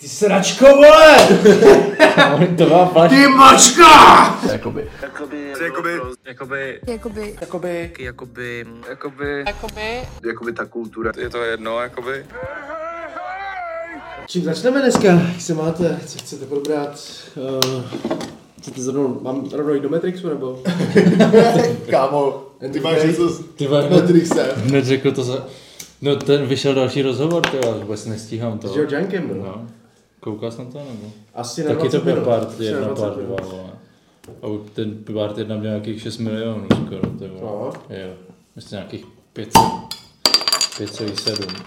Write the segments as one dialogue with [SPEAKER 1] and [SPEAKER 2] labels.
[SPEAKER 1] Ty sračko, vole!
[SPEAKER 2] to byla flash.
[SPEAKER 1] Ty mačka!
[SPEAKER 2] Jakoby.
[SPEAKER 3] Jakoby...
[SPEAKER 4] Jakoby-
[SPEAKER 3] Jakoby...
[SPEAKER 5] Jakoby,
[SPEAKER 2] Jakoby.
[SPEAKER 3] Jakoby... Jakoby...
[SPEAKER 5] jakoby,
[SPEAKER 4] jakoby ta kultura.
[SPEAKER 3] Je to jedno, jakoby.
[SPEAKER 2] Čím začneme dneska? Jak se máte? Co chcete probrat? Uh,
[SPEAKER 6] eh,
[SPEAKER 2] chcete zrovna, mám rovnou jít do Matrixu nebo?
[SPEAKER 6] Kámo, ty máš něco s
[SPEAKER 2] Ty vole,
[SPEAKER 6] Matrixem.
[SPEAKER 2] no, hned řekl to za... No ten vyšel další rozhovor, ty vole, vůbec nestíhám to.
[SPEAKER 6] S Joe Junkem, no.
[SPEAKER 2] No. Koukal jsem to nebo?
[SPEAKER 6] Asi na
[SPEAKER 2] Taky to
[SPEAKER 6] 20
[SPEAKER 2] byl
[SPEAKER 6] minut.
[SPEAKER 2] part
[SPEAKER 6] Asi
[SPEAKER 2] 1,
[SPEAKER 6] na 20
[SPEAKER 2] part 2,
[SPEAKER 6] minut.
[SPEAKER 2] vole. A u- ten part 1 měl nějakých 6 milionů skoro, ty vole.
[SPEAKER 6] No.
[SPEAKER 2] Jo, myslím nějakých 5, 5,7.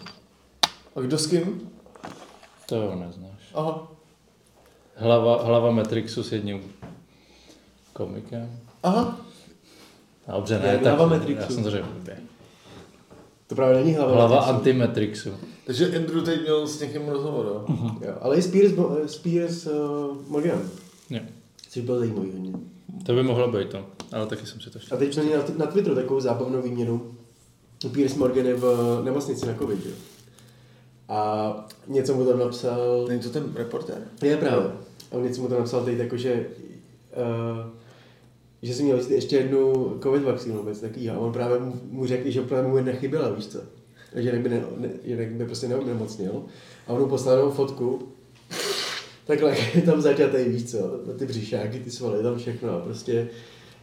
[SPEAKER 6] A kdo s kým?
[SPEAKER 2] To jo, neznáš.
[SPEAKER 6] Aha.
[SPEAKER 2] Hlava, hlava Matrixu s jedním komikem.
[SPEAKER 6] Aha.
[SPEAKER 2] A Dobře, ne,
[SPEAKER 6] Jak
[SPEAKER 2] tak,
[SPEAKER 6] hlava Matrixu.
[SPEAKER 2] já jsem to řekl. blbě.
[SPEAKER 6] To právě není hlava.
[SPEAKER 2] Hlava
[SPEAKER 6] Matrixu.
[SPEAKER 2] antimatrixu.
[SPEAKER 6] Takže Andrew teď měl s někým rozhovor, jo?
[SPEAKER 1] Jo,
[SPEAKER 6] Ale i Spears, bo- eh, Spears uh, Morgan.
[SPEAKER 2] Jo.
[SPEAKER 6] Což bylo zajímavý hodně.
[SPEAKER 2] To by mohlo být to, ale taky jsem si to
[SPEAKER 6] A
[SPEAKER 2] všiml.
[SPEAKER 6] teď jsme měli na, na Twitteru takovou zábavnou výměnu. Piers Morgan je v nemocnici na covid, jo? A něco mu tam napsal...
[SPEAKER 1] Není to ten reportér?
[SPEAKER 6] Je právě. A on něco mu to napsal teď jako, že, uh, že jsem měl vzít ještě jednu covid vakcínu vůbec takový. A on právě mu, mu řekl, že právě mu jedna chyběla, víš co? A Že jinak by, ne, ne, jinak by prostě neomocnil. A on mu poslal jenom fotku. Takhle je tam zaťatej, víš co? Ty břišáky, ty svaly, tam všechno. A prostě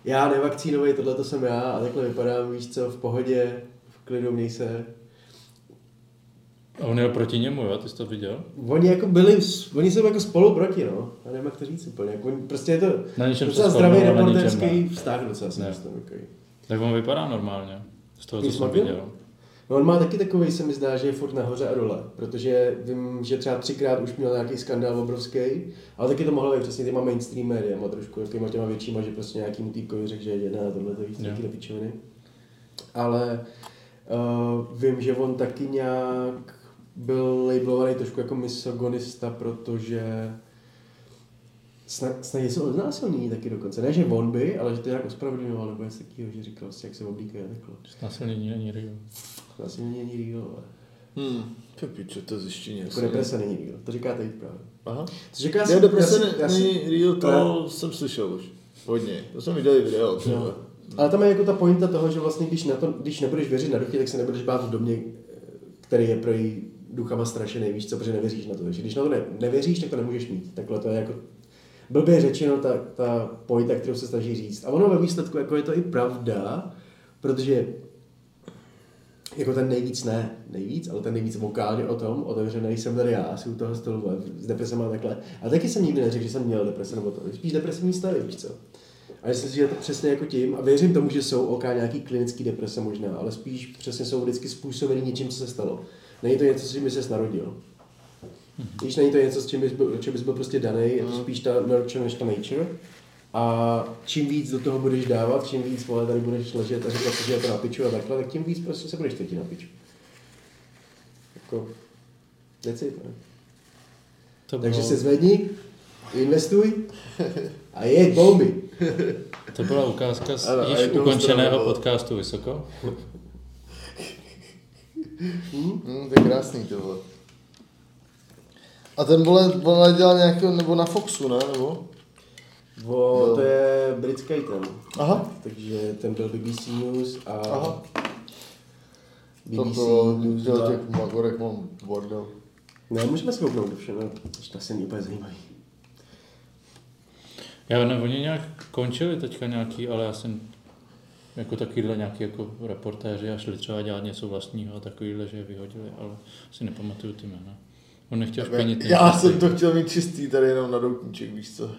[SPEAKER 6] já nevakcínovej, tohle to jsem já a takhle vypadám, víš co, v pohodě, v klidu, měj se.
[SPEAKER 2] A on jel proti němu, jo? Ty jsi to viděl?
[SPEAKER 6] Oni jako byli, oni jsou jako spolu proti, no. Já nevím, jak to říct úplně. Jako, oni- prostě je to
[SPEAKER 2] Na něčem se
[SPEAKER 6] docela
[SPEAKER 2] shodnou,
[SPEAKER 6] zdravý
[SPEAKER 2] ale na něčem
[SPEAKER 6] reporterský vztah docela si
[SPEAKER 2] Ne.
[SPEAKER 6] myslím. Jako.
[SPEAKER 2] Tak on vypadá normálně. Z toho, co
[SPEAKER 6] Piers
[SPEAKER 2] jsem
[SPEAKER 6] Morgan?
[SPEAKER 2] viděl.
[SPEAKER 6] No on má taky takový, se mi zdá, že je furt nahoře a dole, protože vím, že třeba třikrát už měl nějaký skandál obrovský, ale taky to mohlo být přesně těma mainstream médiama trošku, jakýma těma většíma, že prostě nějakým týpkovi řekl, že jedná na tohle, to víc,
[SPEAKER 2] Jo.
[SPEAKER 6] taky do pičoviny. Ale uh, vím, že on taky nějak byl labelovaný trošku jako misogonista, protože Snad, snad něco od násilní taky dokonce. Ne, že on by, ale že to nějak ospravedlňoval, nebo něco takového, že říkal si, jak se oblíkají a takhle.
[SPEAKER 2] Násilný není real.
[SPEAKER 6] Násilní není real, ale
[SPEAKER 1] Hmm, to piče, to zjištění.
[SPEAKER 6] jako deprese není real. To říká teď právě.
[SPEAKER 1] Aha.
[SPEAKER 6] Což jako já
[SPEAKER 1] Já
[SPEAKER 6] si-
[SPEAKER 1] deprese
[SPEAKER 6] já si- já
[SPEAKER 1] ne-
[SPEAKER 6] si-
[SPEAKER 1] není real, to
[SPEAKER 6] Ale-
[SPEAKER 1] jsem slyšel už. Hodně. To jsem viděl i video, třeba.
[SPEAKER 6] No. Ale tam je jako ta pointa toho, že vlastně když, na to, když nebudeš věřit na duchy, tak se nebudeš bát v domě, který je pro její duchama strašený, víš co, protože nevěříš na to. Takže když na to ne, nevěříš, tak to nemůžeš mít. Takhle to je jako blbě řečeno ta, ta pointa, kterou se snaží říct. A ono ve výsledku jako je to i pravda, protože jako ten nejvíc ne, nejvíc, ale ten nejvíc vokálně o tom, otevřený jsem tady já, asi u toho stylu, vole, s depresem a takhle. A taky jsem nikdy neřekl, že jsem měl deprese nebo to, spíš depresivní stavy, víš co. A myslím si, že je to přesně jako tím, a věřím tomu, že jsou OK nějaký klinický deprese možná, ale spíš přesně jsou vždycky způsobený něčím, co se stalo. Není to něco, s čím by se narodil. Víš, není to něco, s čím bys byl, čím bys byl prostě daný, je to
[SPEAKER 1] Mhm.
[SPEAKER 6] spíš ta nurture než ta nature. A čím víc do toho budeš dávat, čím víc vole, tady budeš ležet a říkat si, že je to na piču a takhle, tak tím víc prostě se budeš cítit na piču. Jako, decit, ne?
[SPEAKER 2] To
[SPEAKER 6] Takže
[SPEAKER 2] bylo-
[SPEAKER 6] se zvedni, investuj a jeď bomby.
[SPEAKER 2] To byla ukázka z
[SPEAKER 1] Ano, a
[SPEAKER 2] již
[SPEAKER 1] jakou
[SPEAKER 2] ukončeného
[SPEAKER 1] zdravou?
[SPEAKER 2] podcastu Vysoko.
[SPEAKER 1] Hmm, to je krásný to vole. A ten vole, vole dělal nějakého, nebo na Foxu, ne? Nebo?
[SPEAKER 6] O,
[SPEAKER 1] Jo.
[SPEAKER 6] to je britský ten.
[SPEAKER 1] Aha.
[SPEAKER 6] No. Takže ten byl BBC News a
[SPEAKER 1] Aha. To
[SPEAKER 6] BBC
[SPEAKER 1] bylo,
[SPEAKER 6] News
[SPEAKER 1] dělal
[SPEAKER 6] 2.
[SPEAKER 1] těch magorek, mám bordel.
[SPEAKER 6] No, můžeme se kouknout do všeho, což to asi není úplně zajímavý.
[SPEAKER 2] Já ne, oni nějak končili teďka nějaký, ale já jsem jako takovýhle nějaký jako reportéři a šli třeba dělat něco vlastního a takovýhle, že je vyhodili, ale si nepamatuju ty jména. On nechtěl špenit
[SPEAKER 1] Já
[SPEAKER 2] nějaký-
[SPEAKER 1] jsem to chtěl mít čistý tady jenom na doutníček, víš co?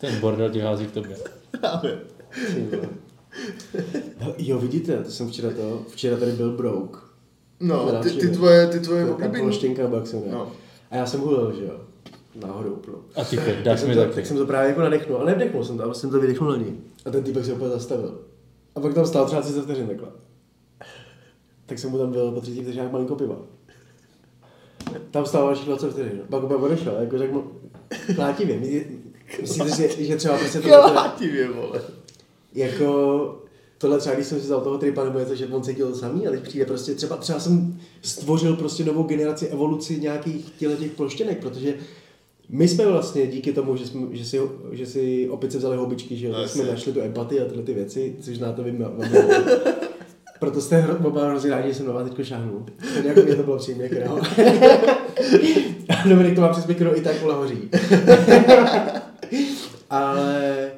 [SPEAKER 2] Ten bordel ti hází k tobě.
[SPEAKER 6] Ty vole. Hele, No, Jo, vidíte, to jsem včera to, včera tady byl Brouk.
[SPEAKER 1] No,
[SPEAKER 6] Teda
[SPEAKER 1] ty, ty
[SPEAKER 6] všude.
[SPEAKER 1] tvoje, ty tvoje
[SPEAKER 6] To je ta
[SPEAKER 1] oblíbení.
[SPEAKER 6] polštinka Baxona.
[SPEAKER 1] No.
[SPEAKER 6] No. A já jsem hulil, že jo. Náhodou úplnou.
[SPEAKER 2] A ty pět,
[SPEAKER 6] Tak
[SPEAKER 2] dáš
[SPEAKER 6] jsem,
[SPEAKER 2] mi
[SPEAKER 6] to,
[SPEAKER 2] taky.
[SPEAKER 6] tak jsem to právě jako nadechnul, ale nevdechnul jsem to, ale jsem to vydechnul na ní. A ten týpek se úplně zastavil. A pak tam stál třeba 30 vteřin takhle. Tak jsem mu tam byl po 30 vteřinách malinko piva. Tam stál další 20 vteřin. Pak úplně odešel, jako řekl mu, klátivě. Myslíte, že, že třeba prostě to
[SPEAKER 1] Klátivě, vole.
[SPEAKER 6] jako tohle třeba, když jsem si vzal toho tripa nebo něco, že on cítil samý, ale když přijde prostě třeba, třeba jsem stvořil prostě novou generaci evoluci nějakých těle těch ploštěnek, protože my jsme vlastně díky tomu, že, jsme, že, si, že si opice vzali hobičky, že jo, tak jsme
[SPEAKER 1] Asi.
[SPEAKER 6] našli tu empatii a tyhle ty věci, což znáte vy mno- mnoho. Proto jste hro- oba hrozně rádi, že jsem na vás teďko šáhnul. To nějak mě to bylo příjemně, král. A Dominik to má přes mikro i tak vole hoří. Ale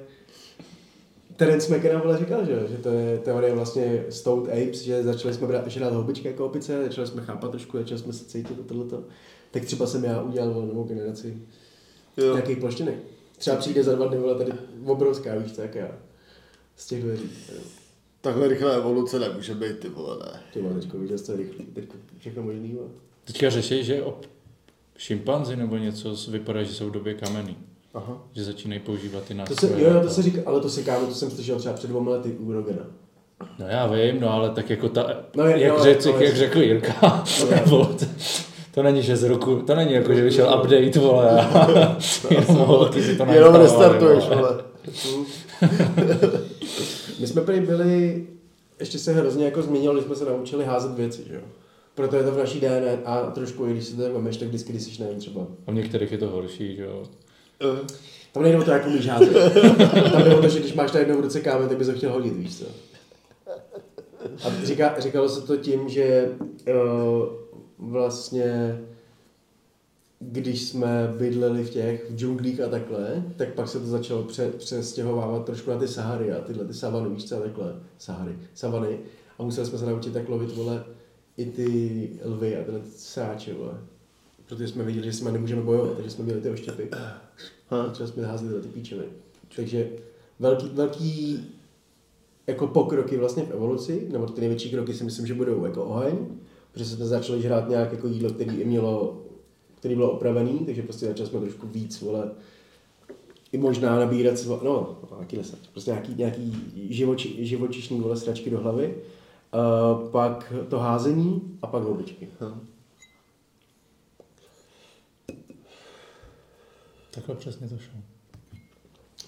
[SPEAKER 6] Terence McKenna vole říkal, že, jo, že to je teorie vlastně Stoned Apes, že začali jsme brát, žrát houbičky jako opice, začali jsme chápat trošku, začali jsme se cítit a tohleto. Tak třeba jsem já udělal vole, novou generaci
[SPEAKER 1] Jo.
[SPEAKER 6] nějakých ploštinek. Třeba přijde za dva dny vole tady obrovská, víš co, jak já. Z těch dveří.
[SPEAKER 1] Takhle rychlá evoluce nemůže být, ty vole, ne.
[SPEAKER 6] Ty vole, teďko viděl jsi to rychle, teďko všechno možný, vole.
[SPEAKER 2] Teďka řeší, že ob... šimpanzi nebo něco s- vypadá, že jsou v době kamenný.
[SPEAKER 6] Aha.
[SPEAKER 2] Že začínají používat ty
[SPEAKER 6] To
[SPEAKER 2] nástroje.
[SPEAKER 6] se, jo, jo, to se říká, ale to se kámo, to jsem slyšel třeba před dvěma lety u Rogana.
[SPEAKER 2] No já vím, no ale tak jako ta,
[SPEAKER 6] No,
[SPEAKER 2] no,
[SPEAKER 6] je-
[SPEAKER 2] jak,
[SPEAKER 6] no,
[SPEAKER 2] no, řeci,
[SPEAKER 6] ale-
[SPEAKER 2] jak řekl Jirka, no, to, to není, že z roku, to není jako, že vyšel update, vole, a jenom holky si to
[SPEAKER 1] Jenom
[SPEAKER 2] nainstalovali,
[SPEAKER 1] restartuješ,
[SPEAKER 2] vole.
[SPEAKER 1] vole.
[SPEAKER 6] My jsme prý byli, ještě se hrozně jako změnilo, když jsme se naučili házet věci, že jo. Proto je to v naší DNA a trošku, i když si to tak vemeš, tak vždycky, když jsi nevím, třeba.
[SPEAKER 2] A v některých je to horší, že jo.
[SPEAKER 1] Eh,
[SPEAKER 6] Tam nejde o to, jak umíš házet. Tam jde o to, že když máš na jednou v ruce kámen, tak bys ho chtěl hodit, víš co. A říká, říkalo se to tím, že uh, vlastně když jsme bydleli v těch v džunglích a takhle, tak pak se to začalo pře, přestěhovávat trošku na ty Sahary a tyhle ty savany, víš co, a takhle, Sahary, savany. A museli jsme se naučit tak lovit, vole, i ty lvy a tyhle sáče, vole. Protože jsme viděli, že s nimi nemůžeme bojovat, takže jsme měli ty oštěpy. A třeba jsme házeli tyhle ty píčoviny. Takže velký, velký jako pokroky vlastně v evoluci, nebo ty největší kroky si myslím, že budou jako oheň, protože jsme začali žrát nějak jako jídlo, který mělo, který bylo opravený, takže prostě začali jsme trošku víc, vole, i možná nabírat, sva- no, nějaký lesat, prostě nějaký, nějaký živoči, živočišní, vole, sračky do hlavy, uh, pak to házení a pak houbičky.
[SPEAKER 2] Takhle přesně to šlo.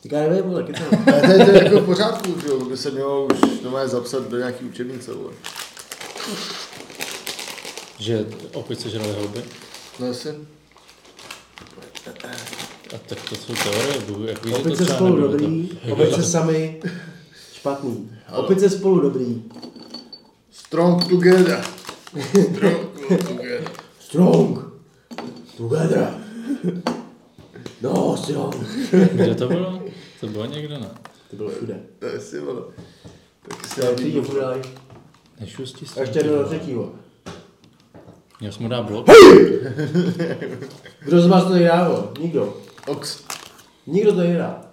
[SPEAKER 6] Tak já nevím, vole, kecám.
[SPEAKER 1] Ne, to je to je jako v pořádku, že jo, by se mělo už normálně zapsat do nějaký učebnice, vole.
[SPEAKER 2] Že opice žrali houby.
[SPEAKER 1] No jasně.
[SPEAKER 2] A tak to jsou teorie, bohu, jak víš, že to
[SPEAKER 6] Opice
[SPEAKER 2] třeba
[SPEAKER 6] spolu
[SPEAKER 2] nebylo
[SPEAKER 6] dobrý,
[SPEAKER 2] to-
[SPEAKER 6] opice sami špatný. Opice spolu dobrý.
[SPEAKER 1] Strong together. Strong together.
[SPEAKER 6] Strong. Together. No, strong.
[SPEAKER 2] Kde to bylo? To bylo někde, ne?
[SPEAKER 6] To bylo všude.
[SPEAKER 1] To jasně, vole. Tak si
[SPEAKER 6] To je
[SPEAKER 1] já
[SPEAKER 6] přijde
[SPEAKER 1] vidím.
[SPEAKER 6] furt
[SPEAKER 2] Nešustí se.
[SPEAKER 6] A ještě jedno na třetího.
[SPEAKER 2] Měl jsem mu dát blok.
[SPEAKER 6] Kdo z vás to nehrá, vole? Nikdo.
[SPEAKER 1] Ox.
[SPEAKER 6] Nikdo to nehrá.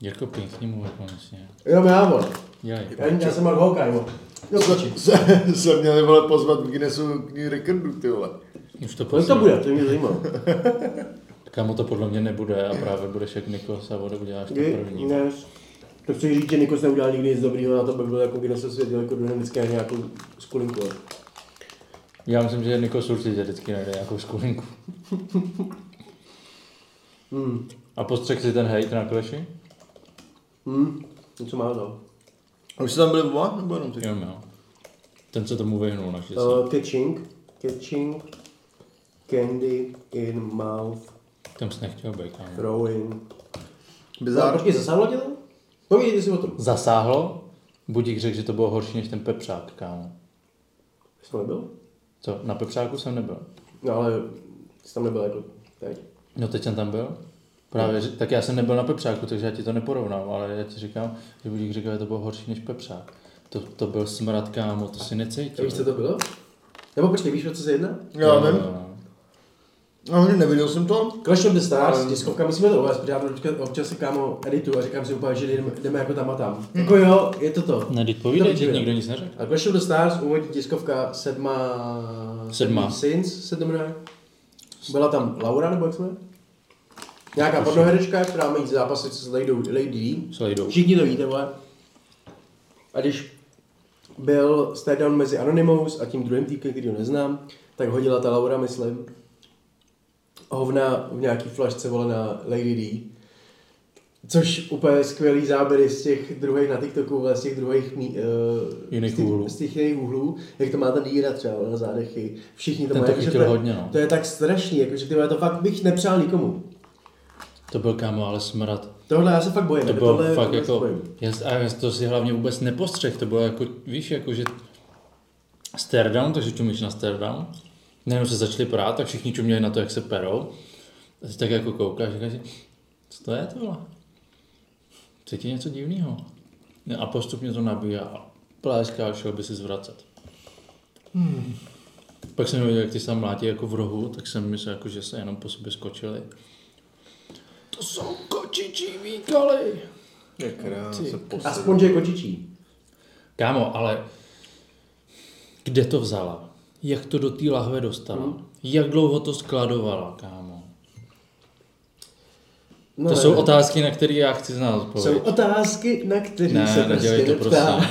[SPEAKER 2] Jirko, pěkně mu konečně.
[SPEAKER 6] Jenom já, vole.
[SPEAKER 2] Dělej.
[SPEAKER 6] Já, já jsem Mark Hawkeye, vole. No, Jo, koči.
[SPEAKER 1] Se, se měli, vole, pozvat v Guinnessu knihy rekordů, ty vole.
[SPEAKER 2] Už to
[SPEAKER 6] Kolik to bude? To mě zajímalo.
[SPEAKER 2] Kamo to podle mě nebude a právě budeš jak Nikos a vodu uděláš to první.
[SPEAKER 6] Kdy? Ne. To chci říct, že Nikos neudělal nikdy nic dobrýho, na to by byl jako Guinness svět, jako dynamické nějakou skulinku. ale-
[SPEAKER 2] Já myslím, že Nikos určitě vždycky najde nějakou skulinku.
[SPEAKER 6] Hmm.
[SPEAKER 2] A postřek si ten hejt na kleši?
[SPEAKER 6] Hmm. Něco málo. no.
[SPEAKER 1] A už jste tam byli oba, nebo jenom ty?
[SPEAKER 2] Jo, jo. Ten se tomu vyhnul na štěstí.
[SPEAKER 6] Uh, catching, catching, candy in mouth,
[SPEAKER 2] Tam jsi nechtěl být, kámo.
[SPEAKER 6] throwing. No,
[SPEAKER 1] Bizár.
[SPEAKER 6] počkej, zasáhlo tě to? Povídejte si o tom.
[SPEAKER 2] Zasáhlo? Budík řekl, že to bylo horší než ten pepřák, kámo.
[SPEAKER 6] Jsi tam nebyl?
[SPEAKER 2] Co, na pepřáku jsem nebyl.
[SPEAKER 6] No ale jsi tam nebyl jako teď.
[SPEAKER 2] No teď jsem tam byl. Právě, že- tak já jsem nebyl na pepřáku, takže já ti to neporovnám, ale já ti říkám, že budík říkal, že to bylo horší než pepřák. To, to byl smrad, kámo, to si
[SPEAKER 6] A
[SPEAKER 2] necítil. no,
[SPEAKER 6] víš, co to bylo? Nebo počkej, víš, o co se jedná?
[SPEAKER 1] Já
[SPEAKER 2] Jo,
[SPEAKER 1] vím.
[SPEAKER 2] jo, jo.
[SPEAKER 1] No, neviděl jsem to.
[SPEAKER 6] Clash of the Stars, diskovka, musíme to uvést, protože já to teďka občas si kámo editu a říkám si úplně, že jdeme, jdeme jako tam a tam. Jako jo, je to to.
[SPEAKER 2] Ne, teď povídej,
[SPEAKER 6] Dobře.
[SPEAKER 2] že nikdo nic neřekl.
[SPEAKER 6] A Clash of the Stars, úvodní tiskovka, sedma...
[SPEAKER 2] Sedma.
[SPEAKER 6] Sins, se to jmenuje. Byla tam Laura, nebo jak jsme? Nějaká pornoherečka, která mají zápasy s Lady, Lady D.
[SPEAKER 2] S Lejdou.
[SPEAKER 6] Všichni to víte, vole. A když byl stare down mezi Anonymous a tím druhým týpem, který ho neznám, tak hodila ta Laura, myslím, hovna v nějaký flašce, vole, na Lady D. Což úplně skvělý záběry z těch druhých na TikToku, vole, z těch druhých mí, eh,
[SPEAKER 2] Jiných
[SPEAKER 6] z těch,
[SPEAKER 2] úhlů.
[SPEAKER 6] Z těch jiných úhlů, jak to má ta díra třeba vole, na zádech, i všichni to
[SPEAKER 2] Ten
[SPEAKER 6] mají.
[SPEAKER 2] to
[SPEAKER 6] jakože
[SPEAKER 2] chytil
[SPEAKER 6] je-
[SPEAKER 2] hodně, no.
[SPEAKER 6] To je tak strašný, jakože ty vole, to fakt bych nepřál nikomu.
[SPEAKER 2] To byl kámo, ale smrad.
[SPEAKER 6] Tohle já se fakt bojím.
[SPEAKER 2] To
[SPEAKER 6] jako
[SPEAKER 2] bylo
[SPEAKER 6] tohle,
[SPEAKER 2] fakt
[SPEAKER 6] tohle se
[SPEAKER 2] jako,
[SPEAKER 6] bojím.
[SPEAKER 2] já, a já to si hlavně vůbec nepostřeh, to bylo jako, víš, jako že stare down, takže čumíš na stare down. Nejenom se začali prát, tak všichni čuměli na to, jak se perou. A ty tak jako koukáš, říkáš si, co to je tohle? Cítí něco divného. No A postupně to nabíjá a pláská, šel by si zvracet. Hmm. Pak jsem viděl, jak ty sám mlátí jako v rohu, tak jsem myslel, jako, že se jenom po sobě skočili. To jsou kočičí výkaly.
[SPEAKER 1] Jak se posadil.
[SPEAKER 6] Aspoň, že je kočičí.
[SPEAKER 2] Kámo, ale kde to vzala? Jak to do té lahve dostala? Hmm. Jak dlouho to skladovala, kámo? No,
[SPEAKER 6] No,
[SPEAKER 2] to
[SPEAKER 6] ne.
[SPEAKER 2] jsou otázky, na které já chci znát odpověď.
[SPEAKER 6] Jsou otázky, na které
[SPEAKER 2] Ne,
[SPEAKER 6] se prostě
[SPEAKER 2] nedělej to,
[SPEAKER 6] neptá.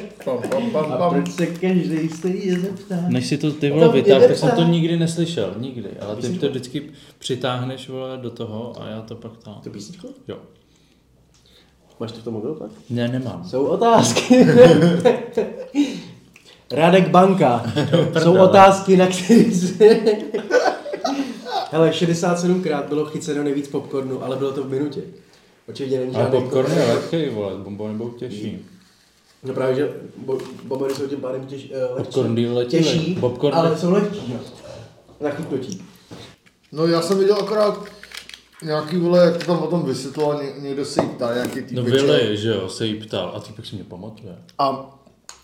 [SPEAKER 1] Pam, pam, pam,
[SPEAKER 6] A
[SPEAKER 1] pam.
[SPEAKER 6] proč se každý stejně zeptá?
[SPEAKER 2] Než si to ty
[SPEAKER 6] vole,
[SPEAKER 2] vole
[SPEAKER 6] Tam vytáhl,
[SPEAKER 2] vytáhl,
[SPEAKER 6] jede
[SPEAKER 2] tak jsem to
[SPEAKER 6] psa.
[SPEAKER 2] nikdy neslyšel, nikdy. Ale ty to vždycky přitáhneš, vole, do toho a já to pak tam.
[SPEAKER 6] To písničko?
[SPEAKER 2] Jo.
[SPEAKER 6] Máš to v tom mobilu tak?
[SPEAKER 2] Ne, nemám.
[SPEAKER 6] Jsou otázky. Radek Banka. Jsou otázky, na které se... Hele, 67krát bylo chyceno nejvíc popcornu, ale bylo to v minutě. Očividně není
[SPEAKER 2] Ale
[SPEAKER 6] žádný...
[SPEAKER 2] popcorn je lehký, vole, bombony budou těžší.
[SPEAKER 6] No právě, že bo- bombory jsou tím pádem těž, eh, lehčí.
[SPEAKER 2] Popcorn deal letí,
[SPEAKER 6] těžší,
[SPEAKER 2] le- popcorn-
[SPEAKER 6] ale jsou lehčí. Na chytnutí.
[SPEAKER 1] No já jsem viděl akorát nějaký vole, jak to tam potom vysvětloval, ně, někdo se jí ptá, nějaký
[SPEAKER 2] No
[SPEAKER 1] týpeček.
[SPEAKER 2] Vili, že jo, se jí ptal a ty si mě pamatuje.
[SPEAKER 1] A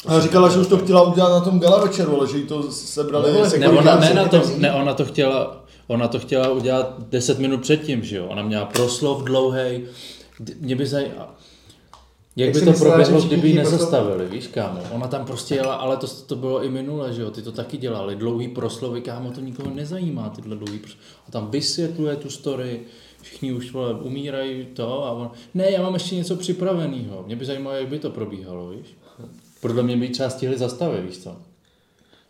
[SPEAKER 1] a říkala, že už to chtěla udělat na tom gala večeru, ale že jí to sebrali
[SPEAKER 6] No,
[SPEAKER 1] se
[SPEAKER 2] Ne, ona,
[SPEAKER 1] kolikrát
[SPEAKER 2] ne,
[SPEAKER 1] se-
[SPEAKER 2] na to, ne, ona to chtěla, ona to chtěla udělat 10 minut předtím, že jo? Ona měla proslov dlouhý. Mě by zaj... a- Jak
[SPEAKER 6] Jak
[SPEAKER 2] by
[SPEAKER 6] si
[SPEAKER 2] to
[SPEAKER 6] myslela, že
[SPEAKER 2] proběhlo,
[SPEAKER 6] všichni
[SPEAKER 2] kdyby ji
[SPEAKER 6] ti proslov-
[SPEAKER 2] nezastavili, víš kámo? Ona tam prostě jela, ale to, to bylo i minule, že jo? Ty to taky dělali, dlouhý proslovy, kámo, to nikoho nezajímá, tyhle dlouhý proslovy. A tam vysvětluje tu story, všichni už vole, umírají to a on, ne, já mám ještě něco připraveného. Mě by zajímalo, jak by to probíhalo, víš? Podle mě by ji třeba stihli zastavit, víš co?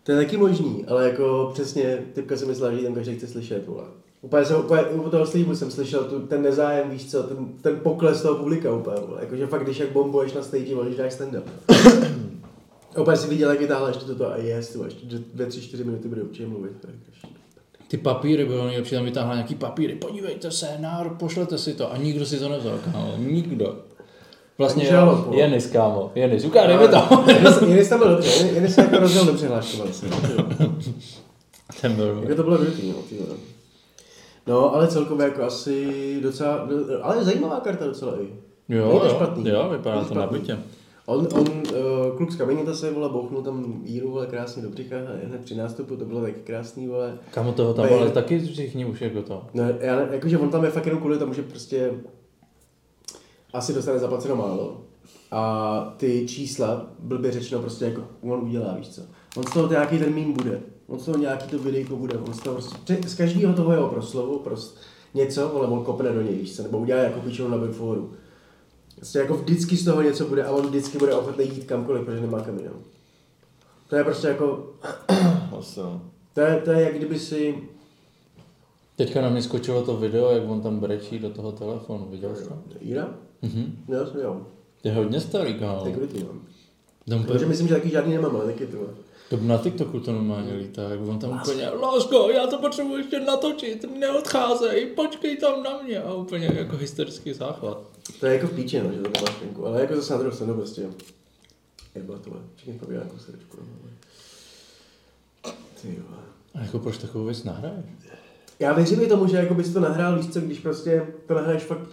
[SPEAKER 6] To je taky možný, ale jako přesně, typka si myslela, že ji tam každý chce slyšet, vole. Úplně jsem, úplně, u toho slibu jsem slyšel tu, ten nezájem, víš co, ten, ten pokles toho publika úplně, vole. Jakože fakt, když jak bombuješ na stage, vole, když dáš stand-up. úplně si viděl, jak vytáhla ještě toto a jest, vole, ještě dvě- dvě, tři, čtyři minuty bude určitě mluvit. to je jako-
[SPEAKER 2] Ty papíry bylo nejlepší, tam vytáhla nějaký papíry, podívejte se, národ, pošlete si to. A nikdo si to nevzal, kámo, nikdo. Vlastně
[SPEAKER 6] Ani žalob, vole.
[SPEAKER 2] Jenis, kámo, Jenis, ukáž, dej mi to.
[SPEAKER 6] Jenis- Jenis tam byl dobře, Jen- Jenis se jako rozděl dobře hláškoval se.
[SPEAKER 2] Ten byl.
[SPEAKER 6] Jako to bylo dobrý, no, ty vole. No, ale celkově jako asi docela, ale zajímavá karta docela i.
[SPEAKER 2] Jo,
[SPEAKER 6] Není to
[SPEAKER 2] jo,
[SPEAKER 6] špatný.
[SPEAKER 2] jo, vypadá
[SPEAKER 6] Není
[SPEAKER 2] to
[SPEAKER 6] špatný.
[SPEAKER 2] nabitě.
[SPEAKER 6] On, on uh, kluk z kamenita se vole, bouchnul tam Jíru, vole, krásně do břicha, hned při nástupu, to bylo taky krásný, vole.
[SPEAKER 2] Kámo toho tam,
[SPEAKER 6] Bej.
[SPEAKER 2] ale taky všichni už jako to.
[SPEAKER 6] No, já, ne- jakože on tam je fakt jenom kvůli tomu, že prostě asi dostane zaplaceno málo. A ty čísla, blbě řečeno, prostě jako on udělá, víš co. On z toho nějaký ten mím bude. On z toho nějaký to videjko bude. On z toho prostě, z každého toho jeho proslovu prostě něco, ale on kopne do něj, víš co, nebo udělá jako píčou na Bigforu. Prostě jako vždycky z toho něco bude a on vždycky bude ochotný jít kamkoliv, protože nemá kam jinam. To je prostě jako,
[SPEAKER 1] Asi no.
[SPEAKER 6] to je, to je jak kdyby si,
[SPEAKER 2] Teďka na mě skočilo to video, jak on tam brečí do toho telefonu, viděl jsi to?
[SPEAKER 6] Jira?
[SPEAKER 2] Mhm.
[SPEAKER 6] No, Jo, jsem jo.
[SPEAKER 2] To Je hodně starý, kámo.
[SPEAKER 6] Tak kdy mám.
[SPEAKER 2] Tam úplně-
[SPEAKER 6] Takže No, myslím, že taky žádný nemám, ale taky to.
[SPEAKER 2] To na TikToku to normálně lítá, jak on tam úplně, lásko, já to potřebuji ještě natočit, neodcházej, počkej tam na mě. A úplně jako hysterický záchvat.
[SPEAKER 6] To je jako v píči, no, že to máš venku, ale jako zase na druhou stranu prostě. Jak bylo tohle? Všichni probíhá nějakou srdečku. No, ale... Ty jo.
[SPEAKER 2] A jako proč takovou věc nahraješ?
[SPEAKER 6] Já věřím i tomu, že jako bys to nahrál, víš co, když prostě to nahraješ fakt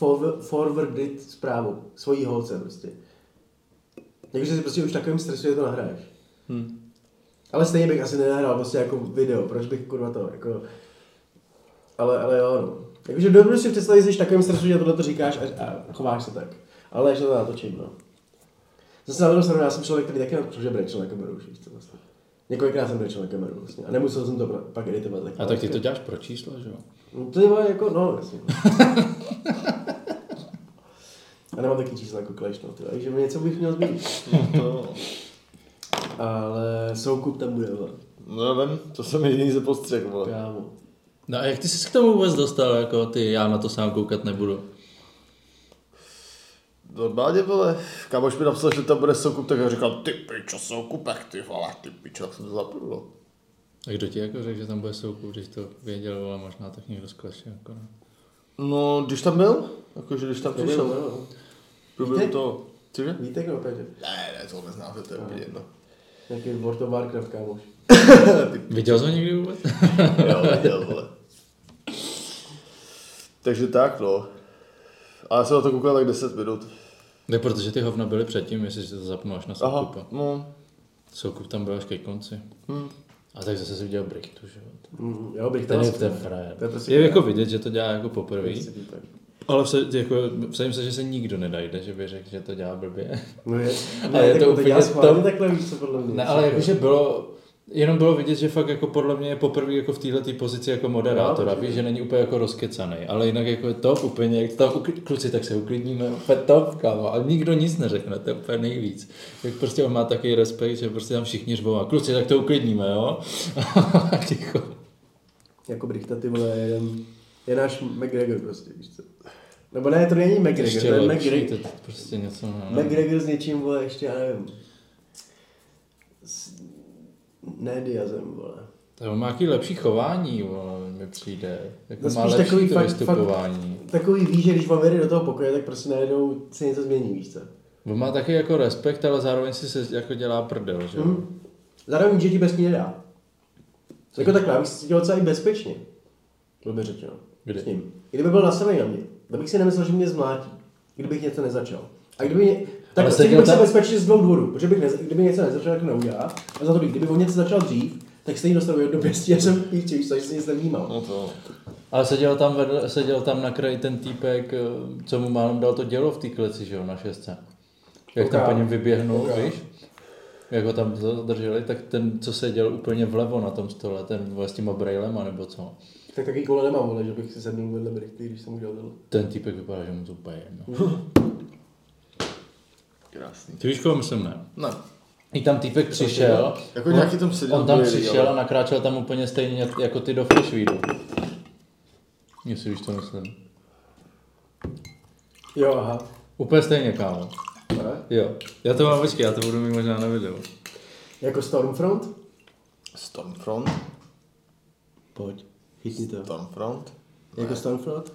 [SPEAKER 6] forw- forwardit zprávu svojí holce prostě. Jakože si prostě už v takovém stresu, že to nahraješ.
[SPEAKER 2] Hmm.
[SPEAKER 6] Ale stejně bych asi nenahrál prostě jako video, proč bych kurva to jako... Ale, ale jo, no. Jakože dobře si představit, že jsi v takovém stresu, že tohle to říkáš a, a chováš se tak. Ale ne, že to natočím, no. Zase na druhou stranu, já jsem člověk, který taky napřel, že brečel na kameru už, víš co vlastně. Několikrát jsem brečel na kameru vlastně a nemusel jsem to pra- pak editovat.
[SPEAKER 2] A tak ty to děláš pro čísla, že jo?
[SPEAKER 6] No to je moje jako, no jasně. Já nemám taky čísla jako Clash, no, tyhle, takže něco bych měl změnit.
[SPEAKER 1] To,
[SPEAKER 6] Ale soukup tam bude, vole.
[SPEAKER 1] no nevím, to jsem jediný ze postřeh, vole.
[SPEAKER 6] Kámo.
[SPEAKER 2] No a jak ty jsi se k tomu vůbec dostal, jako ty, já na to sám koukat nebudu.
[SPEAKER 1] Normálně, vole, kámoš mi napsal, že tam bude soukup, tak já říkám, ty pičo, soukupek, ty vole, ty pičo, tak jsem se zaplnil.
[SPEAKER 2] A kdo ti jako řekl, že tam bude soukup, když to věděl, ale možná tak někdo sklašil. Jako no.
[SPEAKER 1] No, když tam byl, jakože když tam
[SPEAKER 6] To bylo,
[SPEAKER 1] přišel,
[SPEAKER 6] no.
[SPEAKER 1] průběhu toho, cože?
[SPEAKER 6] Víte, kdo opět?
[SPEAKER 1] Ne, ne, to neznám, že to je úplně jedno.
[SPEAKER 6] no, Nějaký World of Warcraft, kámoš.
[SPEAKER 2] Viděl jsi ho někdy vůbec?
[SPEAKER 1] Jo, viděl, vole. Takže tak, no. Ale já jsem na to koukal tak 10 minut.
[SPEAKER 2] ne, protože ty hovna byly předtím, jestli si to zapnul až na soukupa.
[SPEAKER 1] Aha,
[SPEAKER 2] Aha.
[SPEAKER 1] no.
[SPEAKER 2] Soukup tam byl až ke konci.
[SPEAKER 1] Hm.
[SPEAKER 2] A tak zase si viděl Brichtu, že jo.
[SPEAKER 6] Mm, jo, bych
[SPEAKER 2] Ten je
[SPEAKER 6] asi-
[SPEAKER 2] ten frajer.
[SPEAKER 6] To je prostě
[SPEAKER 2] vlastně- Je
[SPEAKER 6] frajer.
[SPEAKER 2] jako vidět, že to dělá jako poprvé,
[SPEAKER 6] Prostě týpek.
[SPEAKER 2] ale vse, jako, vsadím se, že se nikdo nedajde, že by řekl, že to dělá blbě.
[SPEAKER 6] No je,
[SPEAKER 2] Ale
[SPEAKER 6] tak
[SPEAKER 2] je to
[SPEAKER 6] dělá
[SPEAKER 2] úplně
[SPEAKER 6] schválně
[SPEAKER 2] to-
[SPEAKER 6] takhle víš, co podle mě.
[SPEAKER 2] Ne, ale jakože bylo, jenom bylo vidět, že fakt jako podle mě je poprvé jako v této pozici jako moderátora,
[SPEAKER 6] No,
[SPEAKER 2] víš, že není úplně jako rozkecaný, ale jinak jako je top úplně, jak tam ukl- kluci, tak se uklidníme, úplně top, kámo, a nikdo nic neřekne, to je úplně nejvíc. Tak prostě on má takový respekt, že prostě tam všichni řvou a kluci, tak to uklidníme, jo? A ticho.
[SPEAKER 6] Jako Brichta, ty vole, je jeden, je náš McGregor prostě, víš co. Nebo ne, to není McGregor,
[SPEAKER 2] Ještě
[SPEAKER 6] to je
[SPEAKER 2] lepší, to
[SPEAKER 6] McGregor.
[SPEAKER 2] je prostě něco, no, no.
[SPEAKER 6] McGregor s něčím, vole, ještě, já nevím. S, ne Diazem, vole.
[SPEAKER 2] To on má nějaký lepší chování, vole, mi přijde. Jako
[SPEAKER 6] No
[SPEAKER 2] má
[SPEAKER 6] spíš
[SPEAKER 2] lepší
[SPEAKER 6] takový
[SPEAKER 2] to
[SPEAKER 6] fakt-
[SPEAKER 2] vystupování.
[SPEAKER 6] Takový ví, že když vám jede do toho pokoje, tak prostě najednou se něco změní, víš co.
[SPEAKER 2] On má taky jako respekt, ale zároveň si se jako dělá prdel, že jo?
[SPEAKER 6] Hm? Zároveň že ti bez ní nedá. Jako takhle, abych se cítil docela i bezpečně. Bylo by řečeno.
[SPEAKER 2] Kdy?
[SPEAKER 6] S ním. Kdyby byl nasavený na mě, tak bych si nemyslel, že mě zmlátí. Kdybych něco nezačal. A kdyby mě, tak
[SPEAKER 2] Ale
[SPEAKER 6] prostě
[SPEAKER 2] seděl
[SPEAKER 6] kdybych se
[SPEAKER 2] tam-
[SPEAKER 6] bezpečně z dvou důvodů, protože bych neza, kdyby něco nezačal, tak neudělá. A za to bych, kdyby on něco začal dřív, tak stejně dostal jedno pěstí, já jsem píči, víš, co, že jsem nic nevnímal.
[SPEAKER 1] No to.
[SPEAKER 2] Ale seděl tam, vedle, seděl tam na kraji ten týpek, eh, co mu málem dal to dělo v té kleci, že jo, na šestce. Jak tam
[SPEAKER 6] Oká.
[SPEAKER 2] po něm vyběhnul,
[SPEAKER 6] Oká.
[SPEAKER 2] víš? Jak ho tam zadrželi, tak ten, co seděl úplně vlevo na tom stole, ten vole s těma brejlema nebo co.
[SPEAKER 6] Tak takový kolo nemám, vole, že bych si sednul vedle Brichty, když jsem mu dělal.
[SPEAKER 2] Ten týpek vypadá, že mu to úplně jedno.
[SPEAKER 1] Krásný.
[SPEAKER 2] Ty víš, koho myslím, ne?
[SPEAKER 1] No.
[SPEAKER 2] I tam týpek přišel.
[SPEAKER 1] Jako
[SPEAKER 2] on-
[SPEAKER 1] nějaký tam seděl
[SPEAKER 2] On tam
[SPEAKER 1] bojový,
[SPEAKER 2] přišel
[SPEAKER 1] ale-
[SPEAKER 2] a nakráčel tam úplně stejně jak- jako ty do Freshweedu. Jestli víš, co myslím.
[SPEAKER 6] Jo, aha.
[SPEAKER 2] Úplně stejně, kámo.
[SPEAKER 6] Ne?
[SPEAKER 2] Jo. Já to mám, počkej, já to budu mít možná na videu.
[SPEAKER 6] Jako Stormfront?
[SPEAKER 1] Stormfront.
[SPEAKER 2] Pojď.
[SPEAKER 6] Chytni to.
[SPEAKER 1] Stormfront.
[SPEAKER 6] Jako Stormfront?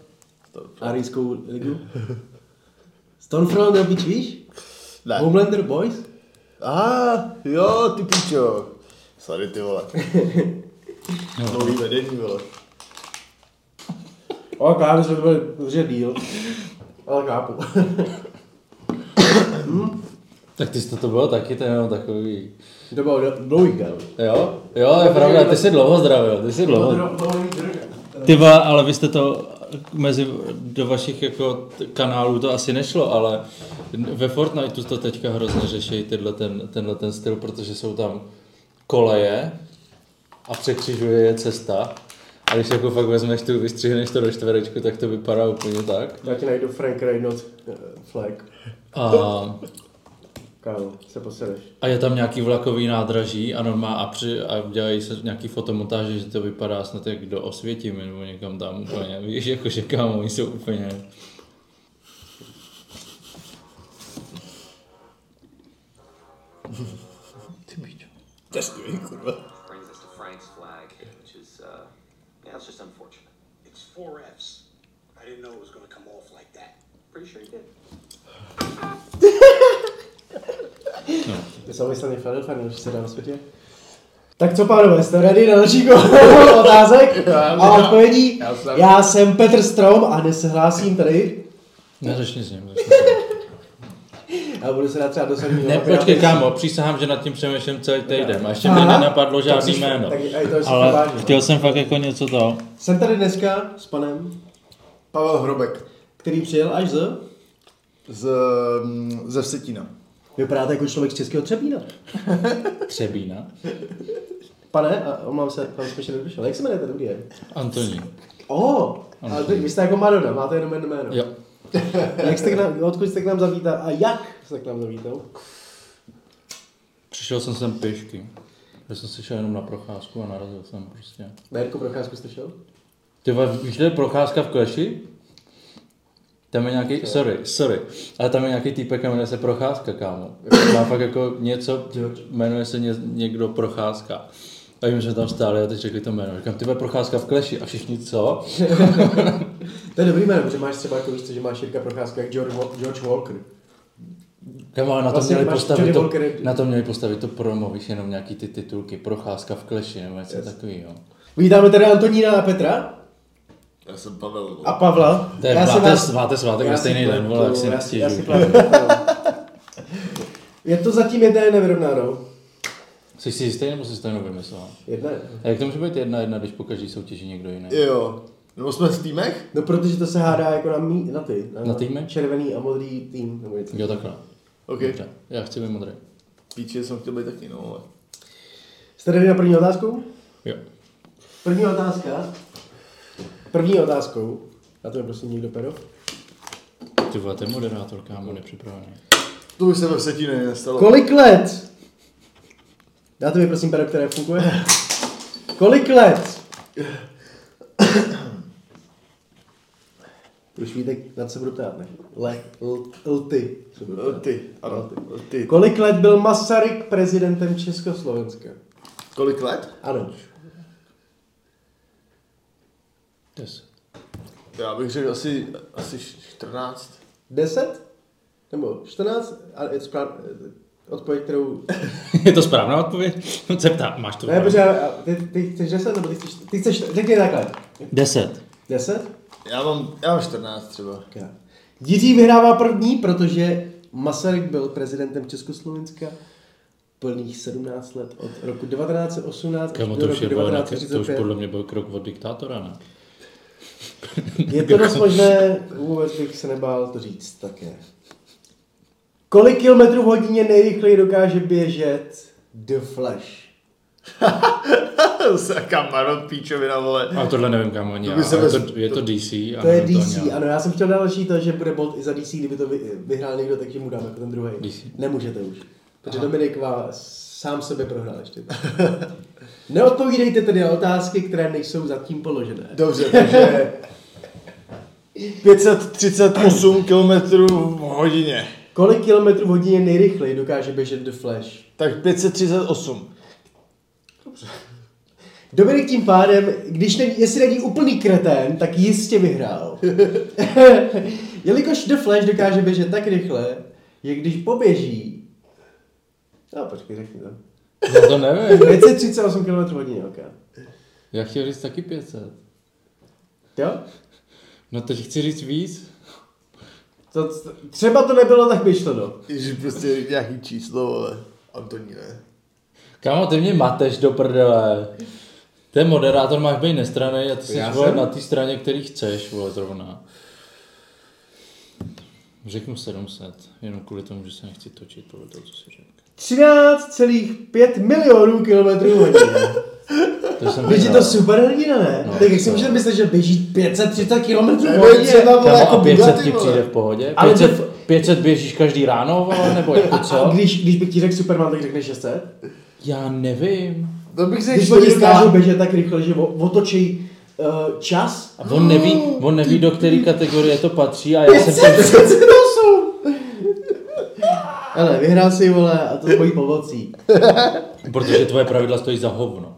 [SPEAKER 1] Stormfront.
[SPEAKER 6] Arijskou ligu? Stormfront nebo bič, víš?
[SPEAKER 1] Ne.
[SPEAKER 6] Homelander Boys?
[SPEAKER 1] Aha, jo, ty pičo. Sorry, ty vole. Nový vedení, vole.
[SPEAKER 6] O, právě jsme to byli dobře díl. Ale chápu.
[SPEAKER 2] Tak ty jsi to, to bylo taky, to je jenom takový.
[SPEAKER 6] To bylo do- dlouhý díl.
[SPEAKER 2] Jo? Jo, je pravda, ty jsi dlouho zdravil, ty jsi dlouho.
[SPEAKER 6] Dlouhý díl.
[SPEAKER 2] Ty va, ale vy jste to mezi, do vašich jako t- kanálů to asi nešlo, ale ve Fortniteu to teďka hrozně řeší tenhle ten, tenhle ten styl, protože jsou tam koleje a překřižuje je cesta. A když jako fakt vezmeš tu, vystřihneš to do čtverečku, tak to vypadá úplně tak.
[SPEAKER 6] Já ti najdu Frank Reynolds eh, flag.
[SPEAKER 2] A
[SPEAKER 6] Kámo, se posereš.
[SPEAKER 2] A je tam nějaký vlakový nádraží a normá a, při, a dělají se nějaký fotomontáže, že to vypadá snad jak do Osvětimi nebo někam tam úplně, víš, jakože kámo, oni jsou úplně...
[SPEAKER 1] Ty pičo. To je skvělý, kurva.
[SPEAKER 4] brings us to Frank's flag, which is, uh, yeah, it's just unfortunate.
[SPEAKER 5] It's four Fs. I didn't know it was gonna come off like that.
[SPEAKER 4] Pretty sure he did.
[SPEAKER 6] Ty sami stane Philadelphia, nebo se dá na světě. Tak co, pánové, jste ready na další kolo otázek a odpovědí?
[SPEAKER 1] Já jsem-
[SPEAKER 6] Já jsem Petr Strom a dnes se hlásím tady
[SPEAKER 2] Neřešni s ním, neřešni s ním.
[SPEAKER 6] a budu se dát třeba dosadit.
[SPEAKER 2] Ne, počkej, kámo, přísahám, že nad tím přemýšlím celý týden a ještě mě
[SPEAKER 6] Aha.
[SPEAKER 2] nenapadlo žádný
[SPEAKER 6] Tak jsi-
[SPEAKER 2] jméno.
[SPEAKER 6] tak- a je to asi
[SPEAKER 2] Ale
[SPEAKER 6] vážně.
[SPEAKER 2] chtěl jsem fakt jako něco to.
[SPEAKER 6] Jsem tady dneska s panem,
[SPEAKER 1] Pavel Hrobek
[SPEAKER 6] který přijel až z...
[SPEAKER 1] z, mm, ze Vsetína.
[SPEAKER 6] Vypadáte jako člověk z Českého Třebína.
[SPEAKER 2] Třebína.
[SPEAKER 6] Pane, a omlouvám se, pan jsme ještě nedošel. Jak se jmenujete, dobrý den?
[SPEAKER 2] Antonín.
[SPEAKER 6] O, ale ty, vy jste jako Madonna, máte jenom jedno jméno.
[SPEAKER 2] Jo.
[SPEAKER 6] Jak jste k nám, odkud jste k nám zavítal a jak jste k nám zavítal?
[SPEAKER 2] Přišel jsem sem pěšky. Já jsem si šel jenom na procházku a narazil jsem prostě.
[SPEAKER 6] Na Jirku Procházku jste šel?
[SPEAKER 2] Ty vole, víš, kde je procházka v Kleši? Tam je nějaký, sorry, sorry, ale tam je nějaký týpek, jmenuje se Procházka, kámo. Má fakt jako něco, jmenuje se ně, někdo Procházka. A vím, že tam stáli a teď řekli to jméno. Říkám, ty bude Procházka v kleši a všichni co?
[SPEAKER 6] To je dobrý jméno, protože máš třeba jako víš, co, že máš Jirka Procházka jak George, Wa- George Walker.
[SPEAKER 2] Kámo, ale na to,
[SPEAKER 6] Vlastně
[SPEAKER 2] měli
[SPEAKER 6] máš
[SPEAKER 2] postavit
[SPEAKER 6] Johnny
[SPEAKER 2] to,
[SPEAKER 6] Walker je-
[SPEAKER 2] na to měli postavit to promo, víš, jenom nějaký ty titulky, Procházka v kleši nebo něco yes. takového.
[SPEAKER 6] Vítáme tady Antonína a Petra
[SPEAKER 1] Já jsem Pavel.
[SPEAKER 6] a Pavla.
[SPEAKER 2] To je,
[SPEAKER 6] se
[SPEAKER 2] máte,
[SPEAKER 6] vás-
[SPEAKER 2] máte svátek
[SPEAKER 6] Já
[SPEAKER 2] na
[SPEAKER 6] si
[SPEAKER 2] stejný den,
[SPEAKER 6] pletu,
[SPEAKER 2] vole, jak si
[SPEAKER 6] já si- já si
[SPEAKER 2] nestěžuji.
[SPEAKER 6] pletu, no. Je to zatím jedna je nevyrovnáno.
[SPEAKER 2] Jsi si jistý nebo jsi to jenom vymyslel?
[SPEAKER 6] Jedna je.
[SPEAKER 2] A jak to může být jedna jedna, když po každý soutěži někdo jiný?
[SPEAKER 1] Jo. Nebo jsme v týmech?
[SPEAKER 6] No protože to se hádá jako na, mí, na ty.
[SPEAKER 2] Na týmy?
[SPEAKER 6] Červený a modrý tým. Nebo něco.
[SPEAKER 2] Jo, takhle.
[SPEAKER 1] OK.
[SPEAKER 2] Dobře, já chci být modrý.
[SPEAKER 1] Píči, jsem chtěl být taky, no ale.
[SPEAKER 6] Jste ready na první otázku?
[SPEAKER 2] Jo.
[SPEAKER 6] První otázka. První otázkou. Na to mi prosím někdo pero.
[SPEAKER 2] Ty vole, ten moderátor, kámo, nepřipravený.
[SPEAKER 1] To už se ve Vsetíně nestalo.
[SPEAKER 6] Kolik let? Dáte mi prosím pero, které funguje. Kolik let? Už víte, na co budu ptát, ne? Le, l, lty. se budu ptát.
[SPEAKER 1] Eh, Ty, ano, ty. ty.
[SPEAKER 6] Kolik let byl Masaryk prezidentem Československa?
[SPEAKER 1] Kolik let?
[SPEAKER 6] Ano.
[SPEAKER 2] Yes.
[SPEAKER 1] Já bych řekl asi, asi 14.
[SPEAKER 6] 10? Nebo 14? A je to správ... odpověď, kterou...
[SPEAKER 2] Je to správná odpověď? Se ptám, máš to
[SPEAKER 6] Ne, protože a ty, ty chceš 10 nebo ty chceš... Ty chceš... Řekni takhle.
[SPEAKER 2] Deset.
[SPEAKER 6] 10?
[SPEAKER 1] Já mám, já mám 14 třeba.
[SPEAKER 6] Krát. Jiří vyhrává první, protože Masaryk byl prezidentem Československa plných 17 let od roku 1918
[SPEAKER 2] Kámo,
[SPEAKER 6] až
[SPEAKER 2] to
[SPEAKER 6] do
[SPEAKER 2] už,
[SPEAKER 6] roku
[SPEAKER 2] je bylo nějaké, to už
[SPEAKER 6] 1935.
[SPEAKER 2] podle mě byl krok od diktátora, ne?
[SPEAKER 6] Je
[SPEAKER 2] jako-
[SPEAKER 6] to dost možné, vůbec bych se nebál to říct také. Kolik kilometrů v hodině nejrychleji dokáže běžet The Flash?
[SPEAKER 1] Saká marot píčovina, vole.
[SPEAKER 2] Ale tohle nevím, kámo, ani
[SPEAKER 1] To
[SPEAKER 2] já.
[SPEAKER 1] by se
[SPEAKER 2] ale
[SPEAKER 1] bez-
[SPEAKER 2] to, je to DC.
[SPEAKER 6] To je DC, ano, já jsem chtěl další to, že bude bod i za DC, kdyby to vy, vyhrál někdo, takže mu dáme jako ten druhý.
[SPEAKER 2] DC.
[SPEAKER 6] Nemůžete už, protože Dominik vás sám sebe prohrál ještě. Neodpovídejte tedy na otázky, které nejsou zatím položené.
[SPEAKER 1] Dobře, takže 538 km v hodině.
[SPEAKER 6] Kolik kilometrů v hodině nejrychleji dokáže běžet The Flash?
[SPEAKER 1] Tak 538.
[SPEAKER 6] Dominik tím pádem, když není, jestli není úplný kretén, tak jistě vyhrál. Jelikož The Flash dokáže běžet tak rychle, že když poběží... No, počkej, řekni to.
[SPEAKER 2] Já No, to nevím.
[SPEAKER 6] 538 km hodině, ok.
[SPEAKER 2] Já chtěl říct taky 500.
[SPEAKER 6] Jo?
[SPEAKER 2] No teď chci říct víc.
[SPEAKER 6] To, třeba to no. nebylo tak myšleno.
[SPEAKER 1] Ježi, prostě nějaký číslo, vole. Antoní, ne?
[SPEAKER 2] Kámo, ty mě mateš do prdele. Ten moderátor máš být nestranej a ty jsi
[SPEAKER 6] Já
[SPEAKER 2] vole,
[SPEAKER 6] jsem?
[SPEAKER 2] na té straně, který chceš, vole, zrovna. Řeknu 700, jenom kvůli tomu, že se nechci točit podle toho, co si řekl.
[SPEAKER 6] 13,5 milionů kilometrů hodině.
[SPEAKER 2] To jsem
[SPEAKER 6] Teď je to
[SPEAKER 2] vyhrál.
[SPEAKER 6] super hrdina, ne?
[SPEAKER 2] No,
[SPEAKER 6] No, tak jak si
[SPEAKER 2] to-
[SPEAKER 6] můžete myslet, že běží 530 km
[SPEAKER 1] Nebo
[SPEAKER 6] hodině?
[SPEAKER 1] třeba, vole,
[SPEAKER 2] Kámo,
[SPEAKER 1] jako
[SPEAKER 2] a 500
[SPEAKER 1] Bugatti,
[SPEAKER 2] ti přijde
[SPEAKER 1] vole.
[SPEAKER 2] v pohodě?
[SPEAKER 6] Ale
[SPEAKER 2] 500, 500 běžíš každý ráno, vole, nebo jako
[SPEAKER 6] A
[SPEAKER 2] co?
[SPEAKER 6] když, když bych ti řekl Superman, tak řekneš 600?
[SPEAKER 2] Já nevím.
[SPEAKER 1] To bych řekl
[SPEAKER 6] Když oni
[SPEAKER 1] 400.
[SPEAKER 6] dokážou běžet tak rychle, že o- otočí uh, čas.
[SPEAKER 2] A on neví, on neví, do které kategorie to patří a já jsem ten...
[SPEAKER 6] Ale vyhrál si, vole, a to s mojí pomocí.
[SPEAKER 2] Protože tvoje pravidla stojí za hovno.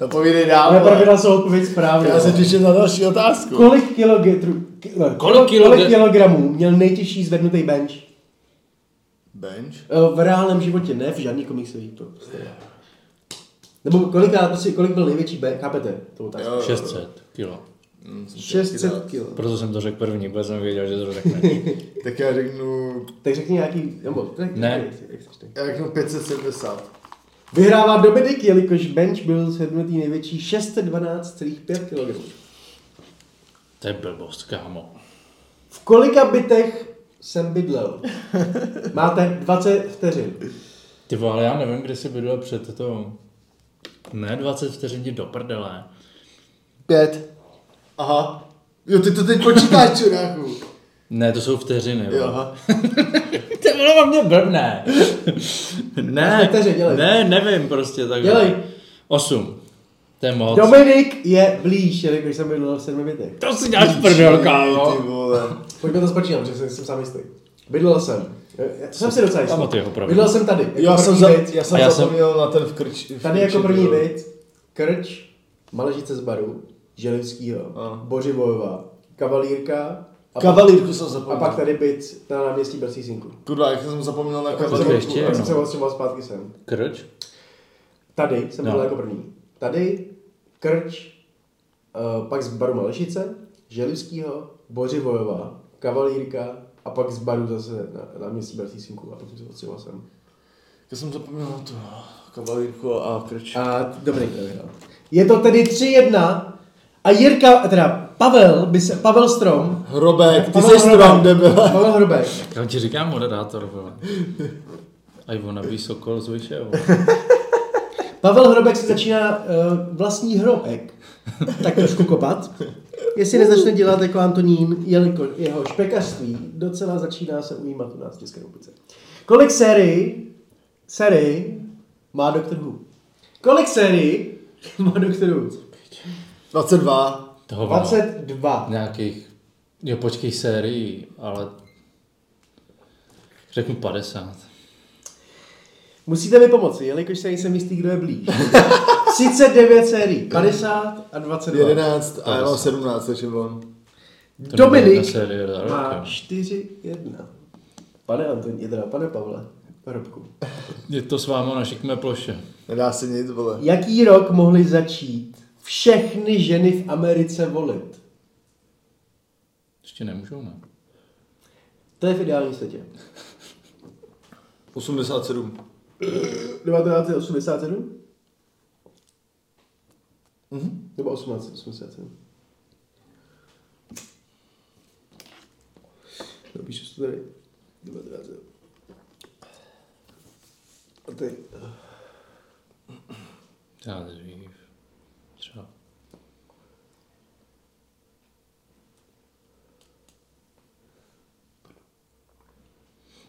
[SPEAKER 1] Napovídej no, dál,
[SPEAKER 6] Ale
[SPEAKER 1] vole.
[SPEAKER 6] pravidla jsou odpověď správně.
[SPEAKER 1] Já se těším na další otázku.
[SPEAKER 6] Kolik kilometrů... ki- ne,
[SPEAKER 2] Kolik kiloge-
[SPEAKER 6] kolik kilogramů měl nejtěžší zvednutý bench?
[SPEAKER 1] Bench?
[SPEAKER 6] Eh, V reálném životě, ne v žádný komiksový to. prostě. Nebo kolikrát, prostě, kolik byl největší bench, chápete? To otázka.
[SPEAKER 1] Jo.
[SPEAKER 2] 600 kilo.
[SPEAKER 1] Hm, jsem chtěl taky
[SPEAKER 6] 600
[SPEAKER 1] dát.
[SPEAKER 6] kg.
[SPEAKER 2] Proto jsem to řekl první, protože jsem věděl, že to řekne.
[SPEAKER 1] Tak já řeknu,
[SPEAKER 6] Tak řekni nějaký, nebo tak,
[SPEAKER 2] Ne.
[SPEAKER 6] jak si- jak si čte.
[SPEAKER 1] já řeknu 570.
[SPEAKER 6] Vyhrává Dominik, jelikož bench byl sedmletý největší 612,5 kg.
[SPEAKER 2] To je blbost, kámo.
[SPEAKER 6] V kolika bytech jsem bydlel? Máte 20 vteřin.
[SPEAKER 2] Ty vole, ale já nevím, kde jsi bydlel před tou... Ne, 20 vteřin ti do prdele.
[SPEAKER 1] Pět. Aha. Jo, ty to teď počítáš, čuráku.
[SPEAKER 2] Ne, to jsou vteřiny,
[SPEAKER 1] Jo,
[SPEAKER 2] jo.
[SPEAKER 1] aha.
[SPEAKER 2] Ty vole, na mě blbne.
[SPEAKER 6] Máš
[SPEAKER 2] ne,
[SPEAKER 6] vteřin, dělej.
[SPEAKER 2] ne, nevím prostě, tak.
[SPEAKER 6] Dělej.
[SPEAKER 2] Osm. To je moc.
[SPEAKER 6] Dominik je blíž, jak když jsem bydlel v sedmi bytech.
[SPEAKER 2] To si děláš prdel,
[SPEAKER 1] Ty
[SPEAKER 2] kámo.
[SPEAKER 1] vole.
[SPEAKER 6] Pojďme to spočítám, že jsem, jsem sám jistý. Bydlel jsem. eh, To jsem si docela jistý.
[SPEAKER 2] Pamatuji ho, pravda.
[SPEAKER 6] Bydlel jsem tady. Jako
[SPEAKER 1] Já jsem,
[SPEAKER 6] první
[SPEAKER 1] za,
[SPEAKER 6] byt.
[SPEAKER 1] já jsem
[SPEAKER 2] A já jsem-
[SPEAKER 1] zapomněl na ten v krč. v
[SPEAKER 6] Tady jako
[SPEAKER 1] krči,
[SPEAKER 6] první
[SPEAKER 1] jo.
[SPEAKER 6] byt, Krč, Maležice z baru, Želivskýho,
[SPEAKER 1] Ano.
[SPEAKER 6] Bořivojová, Kavalírka a,
[SPEAKER 1] Kavalírku jsem
[SPEAKER 6] a
[SPEAKER 1] zapomněl.
[SPEAKER 6] pak tady byt na náměstí Bersísinku.
[SPEAKER 1] Kurva, jak jsem zapomněl na
[SPEAKER 6] A jsem-
[SPEAKER 1] kavalírku.
[SPEAKER 6] a jsem
[SPEAKER 2] ještě jednou.
[SPEAKER 6] se odstěhoval zpátky sem.
[SPEAKER 2] Krč?
[SPEAKER 6] Tady jsem
[SPEAKER 2] No.
[SPEAKER 6] byl jako první. Tady, Krč, eh, pak z baru Malešice, Želivskýho, Bořivojová, Kavalírka a pak z baru zase na, na náměstí Bersísinku a pak jsem se odstěhoval sem.
[SPEAKER 1] Já jsem zapomněl na tu kavalírku a krč.
[SPEAKER 6] A Dominik nevyhrál. Je to tedy 3-1 a Jirka, teda Pavel, by se, Pavel Strom,
[SPEAKER 1] Hrobek, ty
[SPEAKER 6] Pavel
[SPEAKER 1] jsi
[SPEAKER 6] Hrobek.
[SPEAKER 1] strom, debil.
[SPEAKER 6] Pavel Hrobek,
[SPEAKER 2] Já ti říkám moderátor, vole. A Ivona ví sokol z Vyšeho.
[SPEAKER 6] Pavel Hrobek si začíná uh, vlastní hrobek tak trošku kopat. Jestli nezačne dělat jako Antonín, jelikož jeho špekařství docela začíná se ujímat u nás v České republice. Kolik sérií, sérií má Doktor Who? Kolik sérií má Doktor Who?
[SPEAKER 1] 22.
[SPEAKER 2] To hovno.
[SPEAKER 6] 22.
[SPEAKER 2] Nějakých, jo počkej, sérií, ale řeknu 50.
[SPEAKER 6] Musíte mi pomoci, jelikož se nejsem jistý, kdo je blíž. 39 sérií, 50 a 22.
[SPEAKER 1] 11 a já mám 17, takže on.
[SPEAKER 2] To nebyla
[SPEAKER 6] Dominik
[SPEAKER 2] ta série za rok,
[SPEAKER 6] má
[SPEAKER 2] jo.
[SPEAKER 6] 4-1. Pane Antoní, teda pane Pavle, Robku.
[SPEAKER 2] Je to s váma na šikmé ploše.
[SPEAKER 1] Nedá se nic, vole.
[SPEAKER 6] Jaký rok mohly začít všechny ženy v Americe volit?
[SPEAKER 2] Ještě nemůžou, ne?
[SPEAKER 6] To je v ideálním světě.
[SPEAKER 1] 87.
[SPEAKER 6] 1987? Mhm. Nebo 1887? Napíšu si to No, tady. 19. A ty.
[SPEAKER 2] Já dřív. Třeba.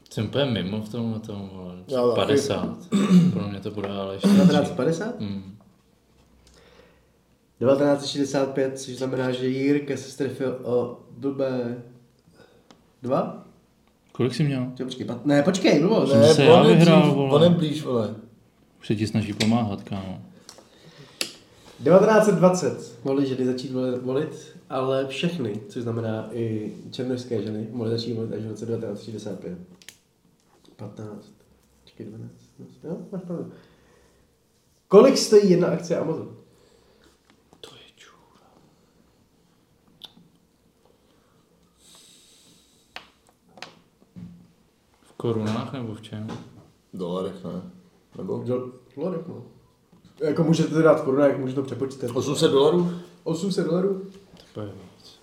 [SPEAKER 2] Jsem úplně mimo v tomhle tom, vole.
[SPEAKER 1] Já taky.
[SPEAKER 2] 50. Pro mě to bude ale ještě. dřív.
[SPEAKER 6] 1950?
[SPEAKER 2] Mm.
[SPEAKER 6] 1965, což znamená, že Jirka se strefil o blbé... Dva?
[SPEAKER 2] Kolik jsi měl?
[SPEAKER 6] Čo, počkej, pat... ne, počkej, blbo, ne.
[SPEAKER 2] se já
[SPEAKER 1] on je
[SPEAKER 2] vyhrál,
[SPEAKER 1] dřív,
[SPEAKER 2] vole.
[SPEAKER 1] On je blíž, vole.
[SPEAKER 2] Už se ti snaží pomáhat, kámo.
[SPEAKER 6] 1920 mohly ženy začít voli- volit, ale všechny, což znamená i černožské ženy, mohly začít volit až v roce 1965. 15, čekej 12, 12, No, jo, máš pravdu. Kolik stojí jedna akce Amazon?
[SPEAKER 2] To je čů. V korunách nebo v čem?
[SPEAKER 1] V dolarech, ne? Nebo?
[SPEAKER 6] Dolarek, no. Jako můžete to dát v korunách, můžete to přepočítat.
[SPEAKER 1] 800 dolarů?
[SPEAKER 6] 800 dolarů?
[SPEAKER 2] To je víc.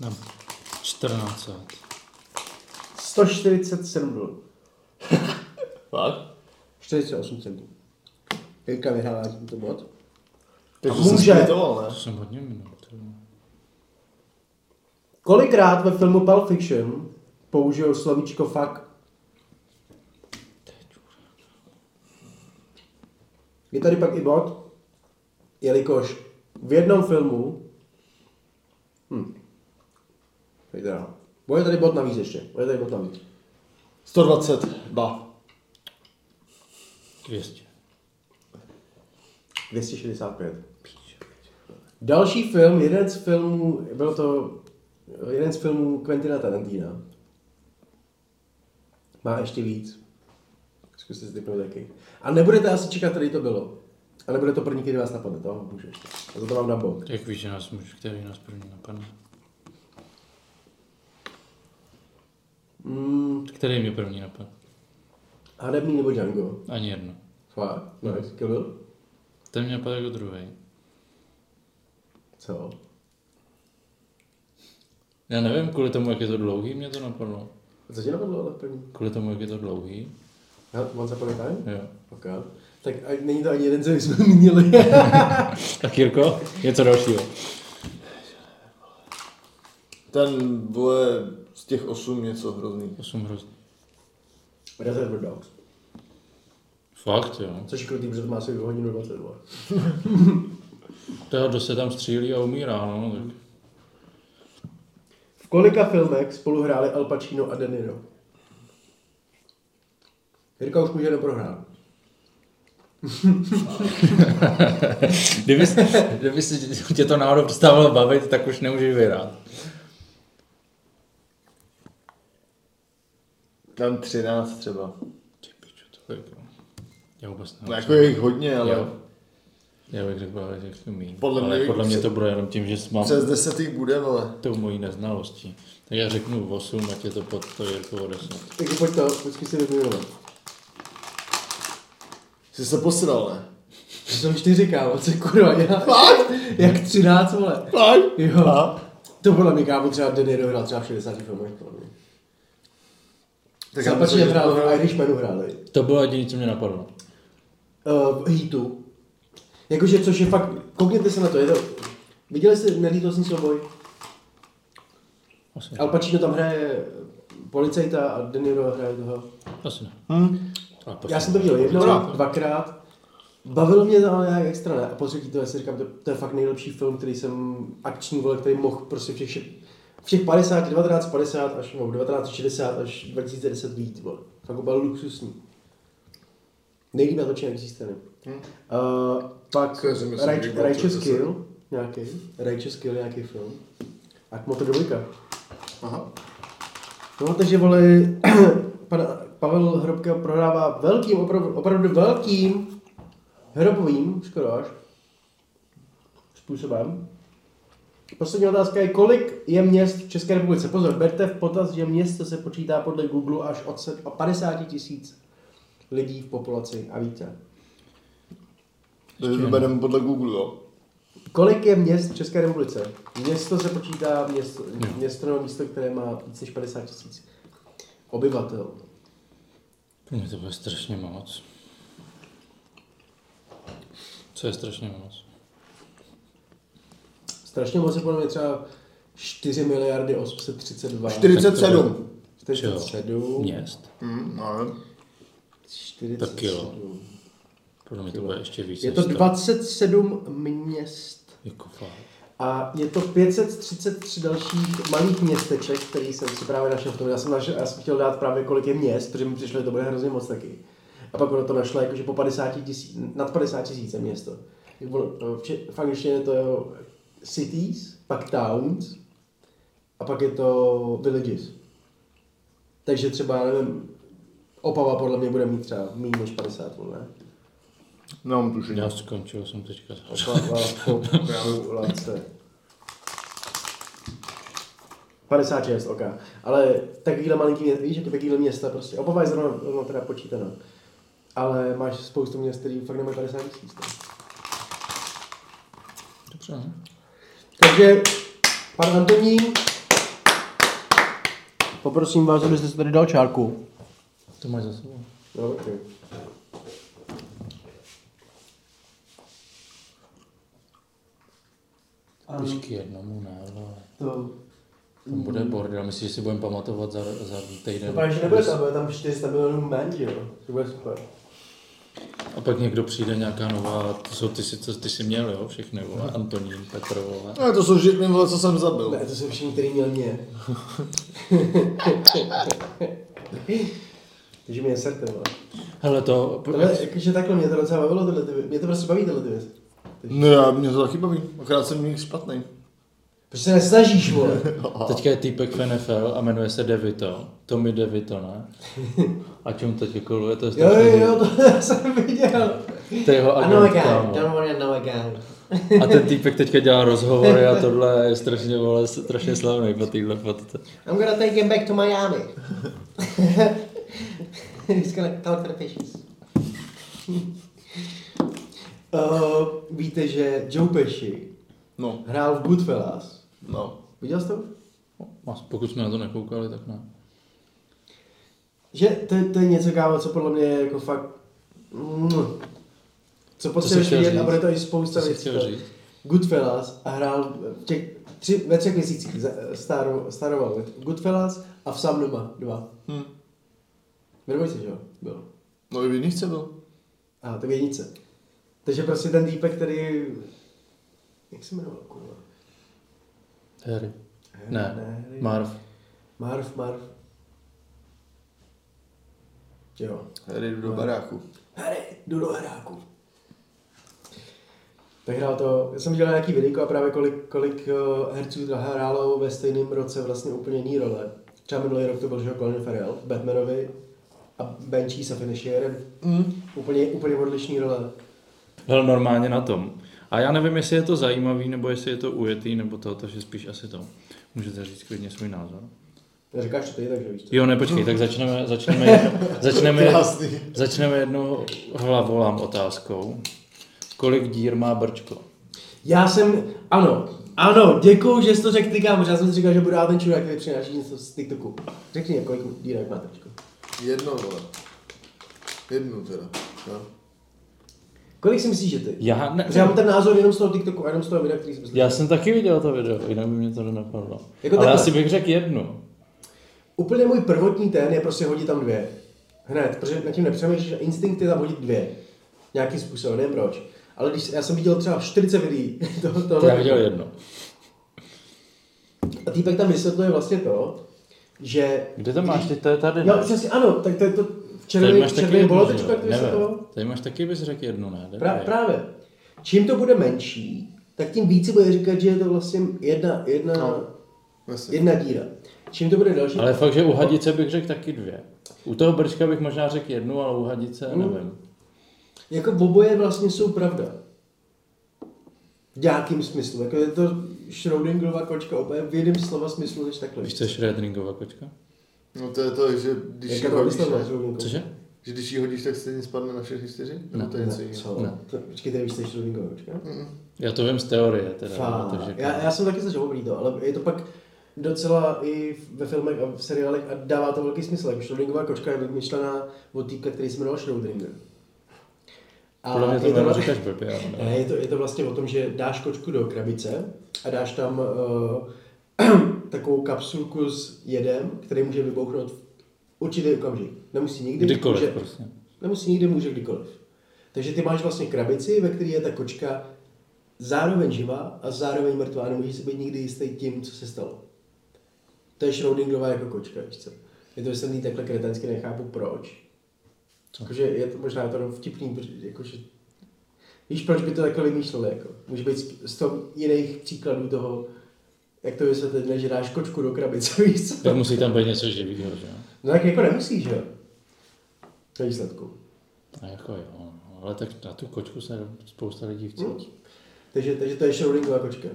[SPEAKER 2] Dám 14.
[SPEAKER 6] 147 dolarů.
[SPEAKER 1] Fakt?
[SPEAKER 6] 48 centů. Jirka vyhrává tímto bod.
[SPEAKER 1] Takže
[SPEAKER 6] může.
[SPEAKER 1] jsem splitoval,
[SPEAKER 2] To
[SPEAKER 1] ne?
[SPEAKER 2] jsem hodně minul. ty vole.
[SPEAKER 6] Kolikrát ve filmu Pulp Fiction použil slovíčko fuck? Je tady pak i bod, jelikož v jednom filmu... Hm. Tak dál. Bude tady bod navíc ještě. Bude tady bod navíc.
[SPEAKER 1] 122.
[SPEAKER 2] 200.
[SPEAKER 6] 265. Další film, jeden z filmů, byl to jeden z filmů Quentina Tarantina. Má ještě víc. Zkuste si typnout jaký. A nebudete asi čekat, tady to bylo. A nebude to první, který vás napadne, to vám můžu ještě. A za to vám dám bod.
[SPEAKER 2] Jak víš, že nás muž, který nás první napadne?
[SPEAKER 6] Mm,
[SPEAKER 2] Který mě první napadl?
[SPEAKER 6] hadebný nebo Django?
[SPEAKER 2] Ani jedno.
[SPEAKER 6] Fakt? Nice. Kill Bill?
[SPEAKER 2] Ten mě napadl jako druhý.
[SPEAKER 6] Co?
[SPEAKER 2] Já nevím, kvůli tomu, jak je to dlouhý, mě to napadlo.
[SPEAKER 6] A co tě napadlo ale první?
[SPEAKER 2] Kvůli tomu, jak je to dlouhý.
[SPEAKER 6] Ha, Once Upon a Time?
[SPEAKER 2] Jo.
[SPEAKER 6] Ok. Tak a není to ani jeden, co jsme zmínili.
[SPEAKER 2] Tak Jirko, něco dalšího.
[SPEAKER 1] Ten, vole, z těch 8 něco hrozný.
[SPEAKER 2] 8 hrozný.
[SPEAKER 6] Reservoir Dogs.
[SPEAKER 2] Fakt, jo.
[SPEAKER 6] Což je krutý, protože to má asi hodinu 20. vole.
[SPEAKER 2] To jo, kdo se tam střílí a umírá, no, tak
[SPEAKER 6] V kolika filmech spolu hráli Al Pacino a De Niro? Jirka už může neprohrát.
[SPEAKER 2] kdyby, kdyby si tě to náhodou přestávalo bavit, tak už nemůžeš vyhrát.
[SPEAKER 1] Tam 13 třeba.
[SPEAKER 2] Ty piču, tolik, no. Já vůbec
[SPEAKER 1] No,
[SPEAKER 2] nevím.
[SPEAKER 1] jako je jich hodně, ale
[SPEAKER 2] Jo. Já bych řekl, ale těch to míň.
[SPEAKER 1] Podle
[SPEAKER 2] ale
[SPEAKER 1] mě-
[SPEAKER 2] podle mě to bude jenom tím, že mám
[SPEAKER 1] No. přes 10 jich bude, vole.
[SPEAKER 2] tou mojí neznalostí. Tak já řeknu 8 a tě to pod to Jirkovo 10.
[SPEAKER 6] Tak pojď to, počkej si vyvinovat.
[SPEAKER 1] Jsi se posral, ne?
[SPEAKER 6] To jsem čtyři, kámo, co kurva, já, jak třináct, vole.
[SPEAKER 1] Fakt?
[SPEAKER 6] Jo.
[SPEAKER 1] A?
[SPEAKER 6] To podle mě, kámo, třeba De Niro hrál třeba v 60 filmech, podle mě.
[SPEAKER 1] Tak
[SPEAKER 6] Al
[SPEAKER 1] já myslím,
[SPEAKER 6] Pacino
[SPEAKER 1] že to
[SPEAKER 6] hrál, v
[SPEAKER 1] hrál.
[SPEAKER 6] Irishmanu hráli.
[SPEAKER 2] To bylo jediné, co mě napadlo.
[SPEAKER 6] Uh, v Heatu. Jakože, což je fakt, koukněte se na to, je to... Viděli jste nelítostný souboj?
[SPEAKER 2] Asi,
[SPEAKER 6] Al Pacino tam hraje policajta a De Niro hraje toho.
[SPEAKER 2] asi ne.
[SPEAKER 1] Hm?
[SPEAKER 2] Ale
[SPEAKER 6] Já jsem to viděl jednou, dvakrát. Bavilo mě to ale nějak extra, ne? A po třetí to já si říkám, to, to, je fakt nejlepší film, který jsem akční vole, který mohl prostě všech, šet- všech 50, 1950 až no, 1960 až 2010 vít, vole. Fakt byl luxusní. Nejlíp natočený existence. Hmm. Uh, pak
[SPEAKER 1] Co já si myslím, že
[SPEAKER 6] Right,
[SPEAKER 1] bylo
[SPEAKER 6] Righteous
[SPEAKER 1] 30.
[SPEAKER 6] Kill, nějaký, Righteous Kill, nějaký film. A Kmotor dvojka.
[SPEAKER 1] Aha.
[SPEAKER 6] No, takže vole, pan Pavel Hrobka prohrává velkým, opravdu, opravdu velkým hrobovým, skoro až, způsobem. Poslední otázka je, kolik je měst v České republice? Pozor, berte v potaz, že město se počítá podle Google až od set- o 50 tisíc lidí v populaci a víte.
[SPEAKER 1] Takže to bereme podle Google, jo.
[SPEAKER 6] Kolik je měst v České republice? Město se počítá, město, město nebo místo, které má více než 50 tisíc obyvatel.
[SPEAKER 2] Pro mě to bude strašně moc. Co je strašně moc?
[SPEAKER 6] Strašně moc je podle mě třeba 4 miliardy 832.
[SPEAKER 1] 47.
[SPEAKER 6] 47.
[SPEAKER 2] Měst?
[SPEAKER 1] Hm, no.
[SPEAKER 6] 47.
[SPEAKER 2] Tak jo. Podle mě to bude ještě víc.
[SPEAKER 6] Je
[SPEAKER 2] než
[SPEAKER 6] to
[SPEAKER 2] sto.
[SPEAKER 6] 27 měst.
[SPEAKER 2] Jako fakt.
[SPEAKER 6] A je to 533 dalších malých městeček, který jsem si právě našel v tom. Já jsem, našel, já jsem chtěl dát právě kolik je měst, protože mi přišlo, že to bude hrozně moc taky. A pak ono to našlo jakože po 50 tisíc, nad 50 tisíc je město. Jak ono, eh, vše- V angličtině je to jo, cities, pak towns a pak je to villages. Takže třeba, já nevím, Opava podle mě bude mít třeba méně než 50, vole, ne?
[SPEAKER 1] Nemám tušení.
[SPEAKER 2] Já skončil jsem teďka.
[SPEAKER 6] Opava, Opava, Lace. 56, ok. Ale takovýhle malinký města, víš, jako takovýhle města prostě. Opava je zrovna, zrovna teda počítaná. Ale máš spoustu měst, který fakt nemají 50 tisíc. no.
[SPEAKER 2] Dobře, no. ne?
[SPEAKER 6] Takže, pan Antonín, poprosím vás, abyste si tady dal čárku.
[SPEAKER 2] To máš za sebou.
[SPEAKER 6] Jo, okay.
[SPEAKER 2] Vždycky jednomu ne, ale
[SPEAKER 6] To,
[SPEAKER 2] tam bude
[SPEAKER 6] Hmm.
[SPEAKER 2] bordel. Myslíš, že si budeme pamatovat za, za týden?
[SPEAKER 6] bude tam 400 milionů men, jo? To bude super.
[SPEAKER 2] A pak někdo přijde nějaká nová, to jsou ty, si, co ty si měl, jo, všechny, vole, Antonín, Petr, vole.
[SPEAKER 1] No, to jsou všechny, vole, co jsem zabil.
[SPEAKER 6] Ne, to jsem všichni, který měl mě. Takže mě je serte, vole.
[SPEAKER 2] Hele, to,
[SPEAKER 6] Tohle, jakože takhle mě to docela bavilo, tohle ty vě- Mě to prostě baví tyhle ty věci.
[SPEAKER 1] No, já mě to taky baví. Akorát jsem v nich špatný.
[SPEAKER 6] Proč se nesnažíš, vole?
[SPEAKER 2] teďka je týpek v NFL a jmenuje se Devito, Tommy Devito, ne? A čím teď koluje, to je
[SPEAKER 6] Jo, jo,
[SPEAKER 2] strašný.
[SPEAKER 6] jo, to jsem viděl.
[SPEAKER 2] To je jeho agent, kámo.
[SPEAKER 6] worry, I know a guy.
[SPEAKER 2] A ten týpek teďka dělá rozhovory a tohle je strašně, vole, strašně slavný po téhle fotce.
[SPEAKER 6] I'm gonna take him back to Miami. He's gonna talk to the fishes. uh, víte, že Joe Pesci
[SPEAKER 1] No,
[SPEAKER 6] hrál v Goodfellas.
[SPEAKER 1] no.
[SPEAKER 6] Viděl jsi to?
[SPEAKER 2] Mas- Pokud jsme na to nekoukali, tak ne.
[SPEAKER 6] Že to, je- to je něco, kámo, co podle mě je jako fakt... Mm, co potřebuješ
[SPEAKER 2] chtěl
[SPEAKER 6] vidět a
[SPEAKER 2] říct?
[SPEAKER 6] bude to i spousta
[SPEAKER 2] Co jsi
[SPEAKER 6] věcí.
[SPEAKER 2] chtěl říct?
[SPEAKER 6] Goodfellas a hrál v těch, tři, ve třech měsících za- staro, staroval. Goodfellas a v sám doma dva.
[SPEAKER 1] Hm.
[SPEAKER 6] Vědomuji si, že jo? Bylo.
[SPEAKER 1] No i v jiných chce byl.
[SPEAKER 6] A to v jednice. Takže prostě ten týpek, který... Jak se jmenoval, kurva?
[SPEAKER 2] Harry.
[SPEAKER 6] Harry,
[SPEAKER 2] Ne,
[SPEAKER 6] Harry.
[SPEAKER 2] Marv.
[SPEAKER 6] Marv, Marv. Jo.
[SPEAKER 1] Harry jdu do baráku.
[SPEAKER 6] Harry, jdu do hráku. Tak hrál to, já jsem viděl nějaký videjko a právě kolik, kolik eh, herců to hrálo ve stejném roce vlastně úplně jiný role. Třeba minulý rok to byl, že jo, Colin Farrell v Batmanovi a Banshee se Finishierem. Mm. Úplně, úplně odlišný role.
[SPEAKER 2] Hele, normálně na tom. A já nevím, jestli je to zajímavý, nebo jestli je to ujetý, nebo to, takže spíš asi to. Můžete říct klidně svůj názor.
[SPEAKER 6] Říkáš to ty, takže víš co.
[SPEAKER 2] Jo, ne, počkej, tak začneme, začneme, jedno, začneme,
[SPEAKER 1] Krásný.
[SPEAKER 2] začneme jednou hlavolám otázkou. Kolik dír má brčko?
[SPEAKER 6] Já jsem, ano, ano, děkuju, že jsi to řekl ty kámo, já jsem si říkal, že budu dát ten čurák, který přináší něco z TikToku. Řekni, kolik dírek má tričko.
[SPEAKER 1] Jedno, vole. Jednu teda. No.
[SPEAKER 6] Kolik si myslíš, že ty?
[SPEAKER 2] Já ne,
[SPEAKER 6] Protože já mám ten názor jenom z toho TikToku a jenom z toho videa, který jsem slyšel.
[SPEAKER 2] já jsem taky viděl to video, jinak by mě to nenapadlo.
[SPEAKER 6] Jako
[SPEAKER 2] Ale
[SPEAKER 6] takhle.
[SPEAKER 2] asi bych řekl jednu.
[SPEAKER 6] Úplně můj prvotní ten je prostě hodit tam dvě. Hned, protože nad tím nepřemýšlíš, a instinkt je tam hodit dvě. Nějakým způsobem, nevím proč. Ale když, já jsem viděl třeba 40 videí. To, to,
[SPEAKER 2] Já viděl jednu.
[SPEAKER 6] A týpek tam vysvětluje vlastně to, že...
[SPEAKER 2] Kde to máš? Ty to je tady,
[SPEAKER 6] Jo,
[SPEAKER 2] ne?
[SPEAKER 6] přesně, ano, tak to je to
[SPEAKER 2] Tady
[SPEAKER 6] červený,
[SPEAKER 2] máš taky
[SPEAKER 6] červený
[SPEAKER 2] jednu,
[SPEAKER 6] bolotečko,
[SPEAKER 2] že jo?
[SPEAKER 6] jak to
[SPEAKER 2] Nevím.
[SPEAKER 6] vysvětlovalo.
[SPEAKER 2] Tady máš taky, bys řekl jednu, ne? Dej,
[SPEAKER 6] Pra,
[SPEAKER 2] dej.
[SPEAKER 6] právě. Čím to bude menší, tak tím více bude říkat, že je to vlastně jedna, jedna, no.
[SPEAKER 1] Jasně.
[SPEAKER 6] jedna díra. Čím to bude další?
[SPEAKER 2] Ale fakt, že u hadice bych řekl taky dvě. U toho brčka bych možná řekl jednu, ale u hadice
[SPEAKER 6] Hmm.
[SPEAKER 2] nevím.
[SPEAKER 6] Jako oboje vlastně jsou pravda. V nějakým smyslu. Jako je to Schrödingerova kočka úplně v jiném slova smyslu než takhle.
[SPEAKER 2] Víš, co je Schrödingova kočka?
[SPEAKER 1] No to je to, že když ji
[SPEAKER 6] Jak Jako to
[SPEAKER 1] hodíš,
[SPEAKER 6] vyslovuje
[SPEAKER 1] ne?
[SPEAKER 6] Schrödingerova?
[SPEAKER 2] Cože?
[SPEAKER 1] že když ji hodíš, tak stejně spadne na všechny čtyři? Nebo to je něco
[SPEAKER 6] Ne,
[SPEAKER 1] jiného?
[SPEAKER 6] co?
[SPEAKER 2] Ne.
[SPEAKER 6] To- Počkej, ty nevíš, co je Schrödingerova kočka?
[SPEAKER 2] Já to vím z teorie, teda. no,
[SPEAKER 6] Fá,
[SPEAKER 2] protože-
[SPEAKER 6] já, já jsem taky začal dobrý to, ale je to pak docela i v- ve filmech a v seriálech a dává to velký smysl. Jako Schrödingerova kočka je vymyšlená od týpka, který se jmenoval Schrödinger. A
[SPEAKER 2] Podle mě to
[SPEAKER 6] je
[SPEAKER 2] jméno
[SPEAKER 6] vlastně-
[SPEAKER 2] říkáš blbě, ale
[SPEAKER 6] Ne, je to, je to vlastně o tom, že dáš kočku do krabice a dáš tam uh, takovou kapsulku s jedem, který může vybouchnout v určitý okamžik. Nemusí nikdy. může,
[SPEAKER 2] Kdykoliv prostě.
[SPEAKER 6] Nemusí nikdy, může kdykoliv. Takže ty máš vlastně krabici, ve které je ta kočka zároveň živá a zároveň mrtvá. a Nemůžeš si být nikdy jistý tím, co se stalo. To je Schrödingerová jako kočka, víš co? Je to vysvětlený takhle kretensky, nechápu proč. Jakože je to možná je to jenom vtipný, protože jakože... Víš, proč by to takhle vymýšleli, jako? Může být z- z toho jiných příkladů toho, jak to vysvětlit, než že dáš kočku do krabice, víš co?
[SPEAKER 2] Tak musí tam být něco živýho, že jo?
[SPEAKER 6] No tak jako nemusíš, že jo? Ve výsledku.
[SPEAKER 2] A jako jo, no, ale tak na tu kočku se spousta lidí vcítí.
[SPEAKER 6] Takže, takže to je Schrödingerova kočka.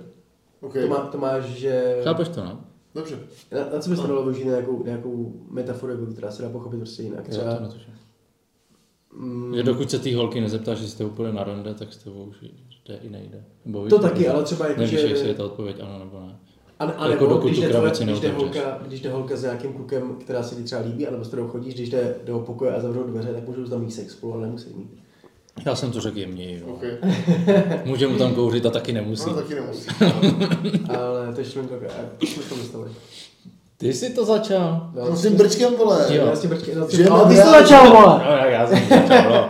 [SPEAKER 1] OK,
[SPEAKER 6] To, má, to máš, že...
[SPEAKER 2] Chápeš to, no?
[SPEAKER 1] dobře.
[SPEAKER 6] Na, na co bys to dalo využít nějakou, nějakou metaforu, jako která se dá pochopit prostě jinak?
[SPEAKER 2] Já to
[SPEAKER 6] Třeba,
[SPEAKER 2] netuším.
[SPEAKER 6] mm,
[SPEAKER 2] Že dokud se té holky nezeptáš, že jste úplně na rande, tak s tebou už jde i nejde. Nebo víš,
[SPEAKER 6] to taky,
[SPEAKER 2] že-
[SPEAKER 6] ale třeba jako,
[SPEAKER 2] Nevíš,
[SPEAKER 6] že...
[SPEAKER 2] jestli je ta odpověď ano nebo ne.
[SPEAKER 6] A, a
[SPEAKER 2] Jako
[SPEAKER 6] nebo
[SPEAKER 2] dokud
[SPEAKER 6] když,
[SPEAKER 2] tu
[SPEAKER 6] jde tvoje,
[SPEAKER 2] krabici
[SPEAKER 6] když, jde
[SPEAKER 2] neotevřeš.
[SPEAKER 6] holka, když jde holka s nějakým klukem, která se ti třeba líbí, anebo s kterou chodíš, když jde do pokoje a zavřou dveře, tak můžou tam mít sex spolu, ale nemusí mít.
[SPEAKER 2] Já jsem to řekl jemněji, jo.
[SPEAKER 1] OK.
[SPEAKER 2] Může mu tam kouřit a taky nemusí.
[SPEAKER 1] No, taky nemusí.
[SPEAKER 6] Ale to je šlenkoka. A jsme to dostali.
[SPEAKER 2] Ty jsi to začal.
[SPEAKER 1] No, s tím brčkem, vole.
[SPEAKER 2] Jo.
[SPEAKER 6] Já si brčky, no,
[SPEAKER 1] Žijeme
[SPEAKER 6] no,
[SPEAKER 1] v
[SPEAKER 6] ty jsi to
[SPEAKER 1] realitě.
[SPEAKER 6] začal, vole!
[SPEAKER 2] No, tak já jsem to začal, no.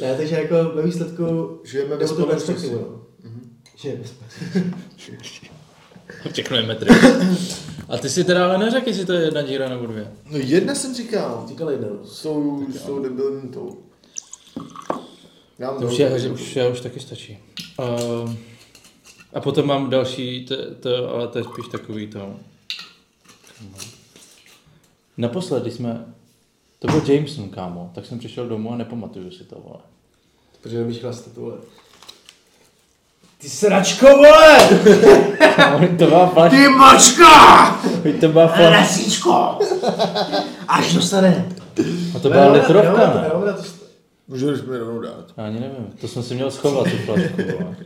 [SPEAKER 6] Ne, takže jako ve výsledku...
[SPEAKER 1] Žijeme ve
[SPEAKER 6] nebo to
[SPEAKER 1] společnosti.
[SPEAKER 6] perspektivu, no.
[SPEAKER 1] Mhm.
[SPEAKER 6] Žijeme ve společnosti.
[SPEAKER 2] Všechno je metry. A ty si teda ale neřekl, jestli to je jedna díra nebo dvě.
[SPEAKER 1] No jedna jsem říkal.
[SPEAKER 6] Říkal jedna, no.
[SPEAKER 1] S tou, s tou debilní tou. Já mám
[SPEAKER 2] To už,
[SPEAKER 1] dobrou
[SPEAKER 2] je, že
[SPEAKER 1] brčku.
[SPEAKER 2] už, já už taky stačí. Uh, a potom mám další, to, to, ale to je spíš takový to. Naposledy jsme, to byl Jameson, kámo, tak jsem přišel domů a nepamatuju si to, vole.
[SPEAKER 6] Protože nemůžeš chlastat, vole. Ty sračko, vole!
[SPEAKER 2] Kámo, to má flash,
[SPEAKER 6] Ty mačka!
[SPEAKER 2] to má flash.
[SPEAKER 6] Rasíčko! Až dostane.
[SPEAKER 2] A to byla litrovka, ne?
[SPEAKER 1] Můžeš mi rovnou dát.
[SPEAKER 2] Já ani nevím, to jsem si měl schovat, tu flašku. vole.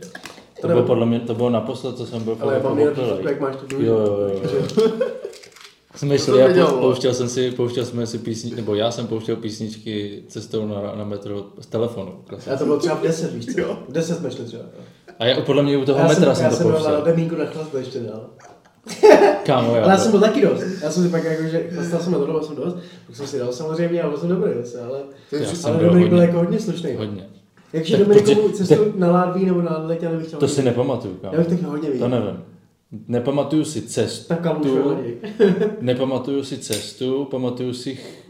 [SPEAKER 2] To bylo podle mě, to bylo naposled, co jsem byl
[SPEAKER 6] Ale já
[SPEAKER 2] fakt
[SPEAKER 6] mám jinak
[SPEAKER 2] opilej.
[SPEAKER 6] jak máš tu druhou.
[SPEAKER 2] Jo, jo, jo, jo. Jsme
[SPEAKER 1] To
[SPEAKER 2] šli a
[SPEAKER 1] viděl,
[SPEAKER 2] pou-
[SPEAKER 1] vole.
[SPEAKER 2] pouštěl jsem si, pouštěl jsme si písničky, nebo já jsem pouštěl písničky cestou na, na metro z telefonu. klasicky.
[SPEAKER 6] Já to bylo třeba v 10, víš co? V 10 jsme šli třeba. jo.
[SPEAKER 2] A já, podle mě u toho
[SPEAKER 6] já jsem,
[SPEAKER 2] metra jsem,
[SPEAKER 6] já
[SPEAKER 2] to
[SPEAKER 6] jsem byl na
[SPEAKER 2] pouštěl.
[SPEAKER 6] Demínku na chlast ještě dál.
[SPEAKER 2] Kámo, já,
[SPEAKER 6] Ale já jsem
[SPEAKER 2] byl...
[SPEAKER 6] byl taky dost. Já jsem si pak jako, že dostal jsem na tohle, byl jsem dost, pak jsem si dal samozřejmě a byl jsem dobrý zase, ale,
[SPEAKER 1] To je
[SPEAKER 2] Já
[SPEAKER 1] vždy-
[SPEAKER 2] jsem
[SPEAKER 6] ale
[SPEAKER 2] byl
[SPEAKER 6] Dominik byl
[SPEAKER 2] hodně.
[SPEAKER 6] jako hodně slušný.
[SPEAKER 2] hodně.
[SPEAKER 6] Takže
[SPEAKER 2] Tak
[SPEAKER 6] Dominikovu
[SPEAKER 2] prostě-
[SPEAKER 6] cestu na ládví nebo na letě, já bych chtěl
[SPEAKER 2] To si
[SPEAKER 6] vidět.
[SPEAKER 2] nepamatuju, kámo.
[SPEAKER 6] Já bych taky hodně
[SPEAKER 2] To
[SPEAKER 6] viděl.
[SPEAKER 2] nevím. Nepamatuju si cestu,
[SPEAKER 6] Tak kam už hodně.
[SPEAKER 2] nepamatuju si cestu, pamatuju si ch-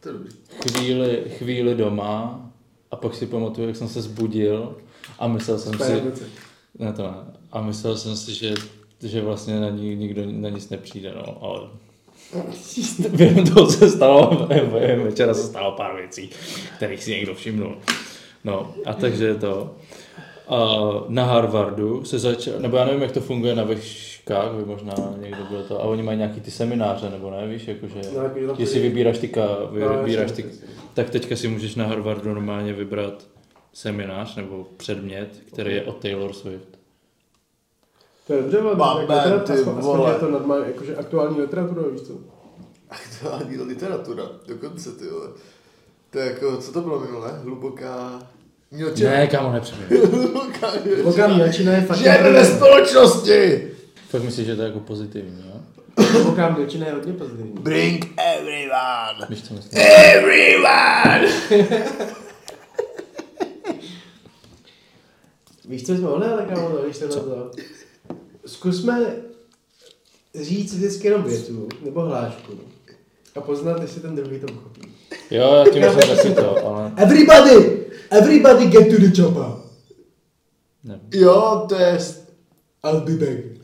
[SPEAKER 1] to je dobrý.
[SPEAKER 2] chvíli, chvíli doma a pak si pamatuju, jak jsem se zbudil a myslel jsem si, ne to ne, a myslel jsem si, že, že vlastně na ní nikdo na nic nepřijde, no, ale během toho se stalo, během večera se stalo pár věcí, kterých si někdo všimnul. No, a takže je to. A na Harvardu se začal, nebo já nevím, jak to funguje na veškách, by možná někdo byl to, a oni mají nějaký ty semináře, nebo ne, víš, jakože,
[SPEAKER 6] No, jako, že tam
[SPEAKER 2] jestli
[SPEAKER 6] chodí-
[SPEAKER 2] vybíráš ty, ka,
[SPEAKER 6] No,
[SPEAKER 2] vybíráš
[SPEAKER 6] jasně,
[SPEAKER 2] ty, tak teďka si můžeš na Harvardu normálně vybrat seminář nebo předmět, který je o Taylor Swift.
[SPEAKER 6] To je dobře, ale
[SPEAKER 1] Bam,
[SPEAKER 6] tak
[SPEAKER 1] bam,
[SPEAKER 6] teda
[SPEAKER 1] ty
[SPEAKER 6] aspoň- aspoň
[SPEAKER 1] vole.
[SPEAKER 6] je to normálně, jakože aktuální literatura, víš co?
[SPEAKER 1] Aktuální literatura, dokonce ty vole. To je jako, co to bylo minule? Hluboká... Mělčina.
[SPEAKER 2] Ne, kámo, nepřemýšlím.
[SPEAKER 1] Hluboká
[SPEAKER 6] Hluboká mělčina je fakt...
[SPEAKER 1] Žijeme ve společnosti!
[SPEAKER 2] Fakt myslíš, že to je jako pozitivní, jo?
[SPEAKER 6] Hluboká mělčina je hodně pozitivní.
[SPEAKER 1] Bring everyone!
[SPEAKER 2] Víš, co myslím?
[SPEAKER 1] Everyone!
[SPEAKER 6] Víš, co jsme mohli, ale kámo, to, když tohle to. Zkusme říct vždycky jenom větu nebo hlášku a poznat, jestli ten druhý to pochopí.
[SPEAKER 2] Jo, já tím jsem taky to, ale
[SPEAKER 6] Everybody! Everybody get to the chopper!
[SPEAKER 2] ne.
[SPEAKER 1] Jo, to je...
[SPEAKER 6] I'll be back.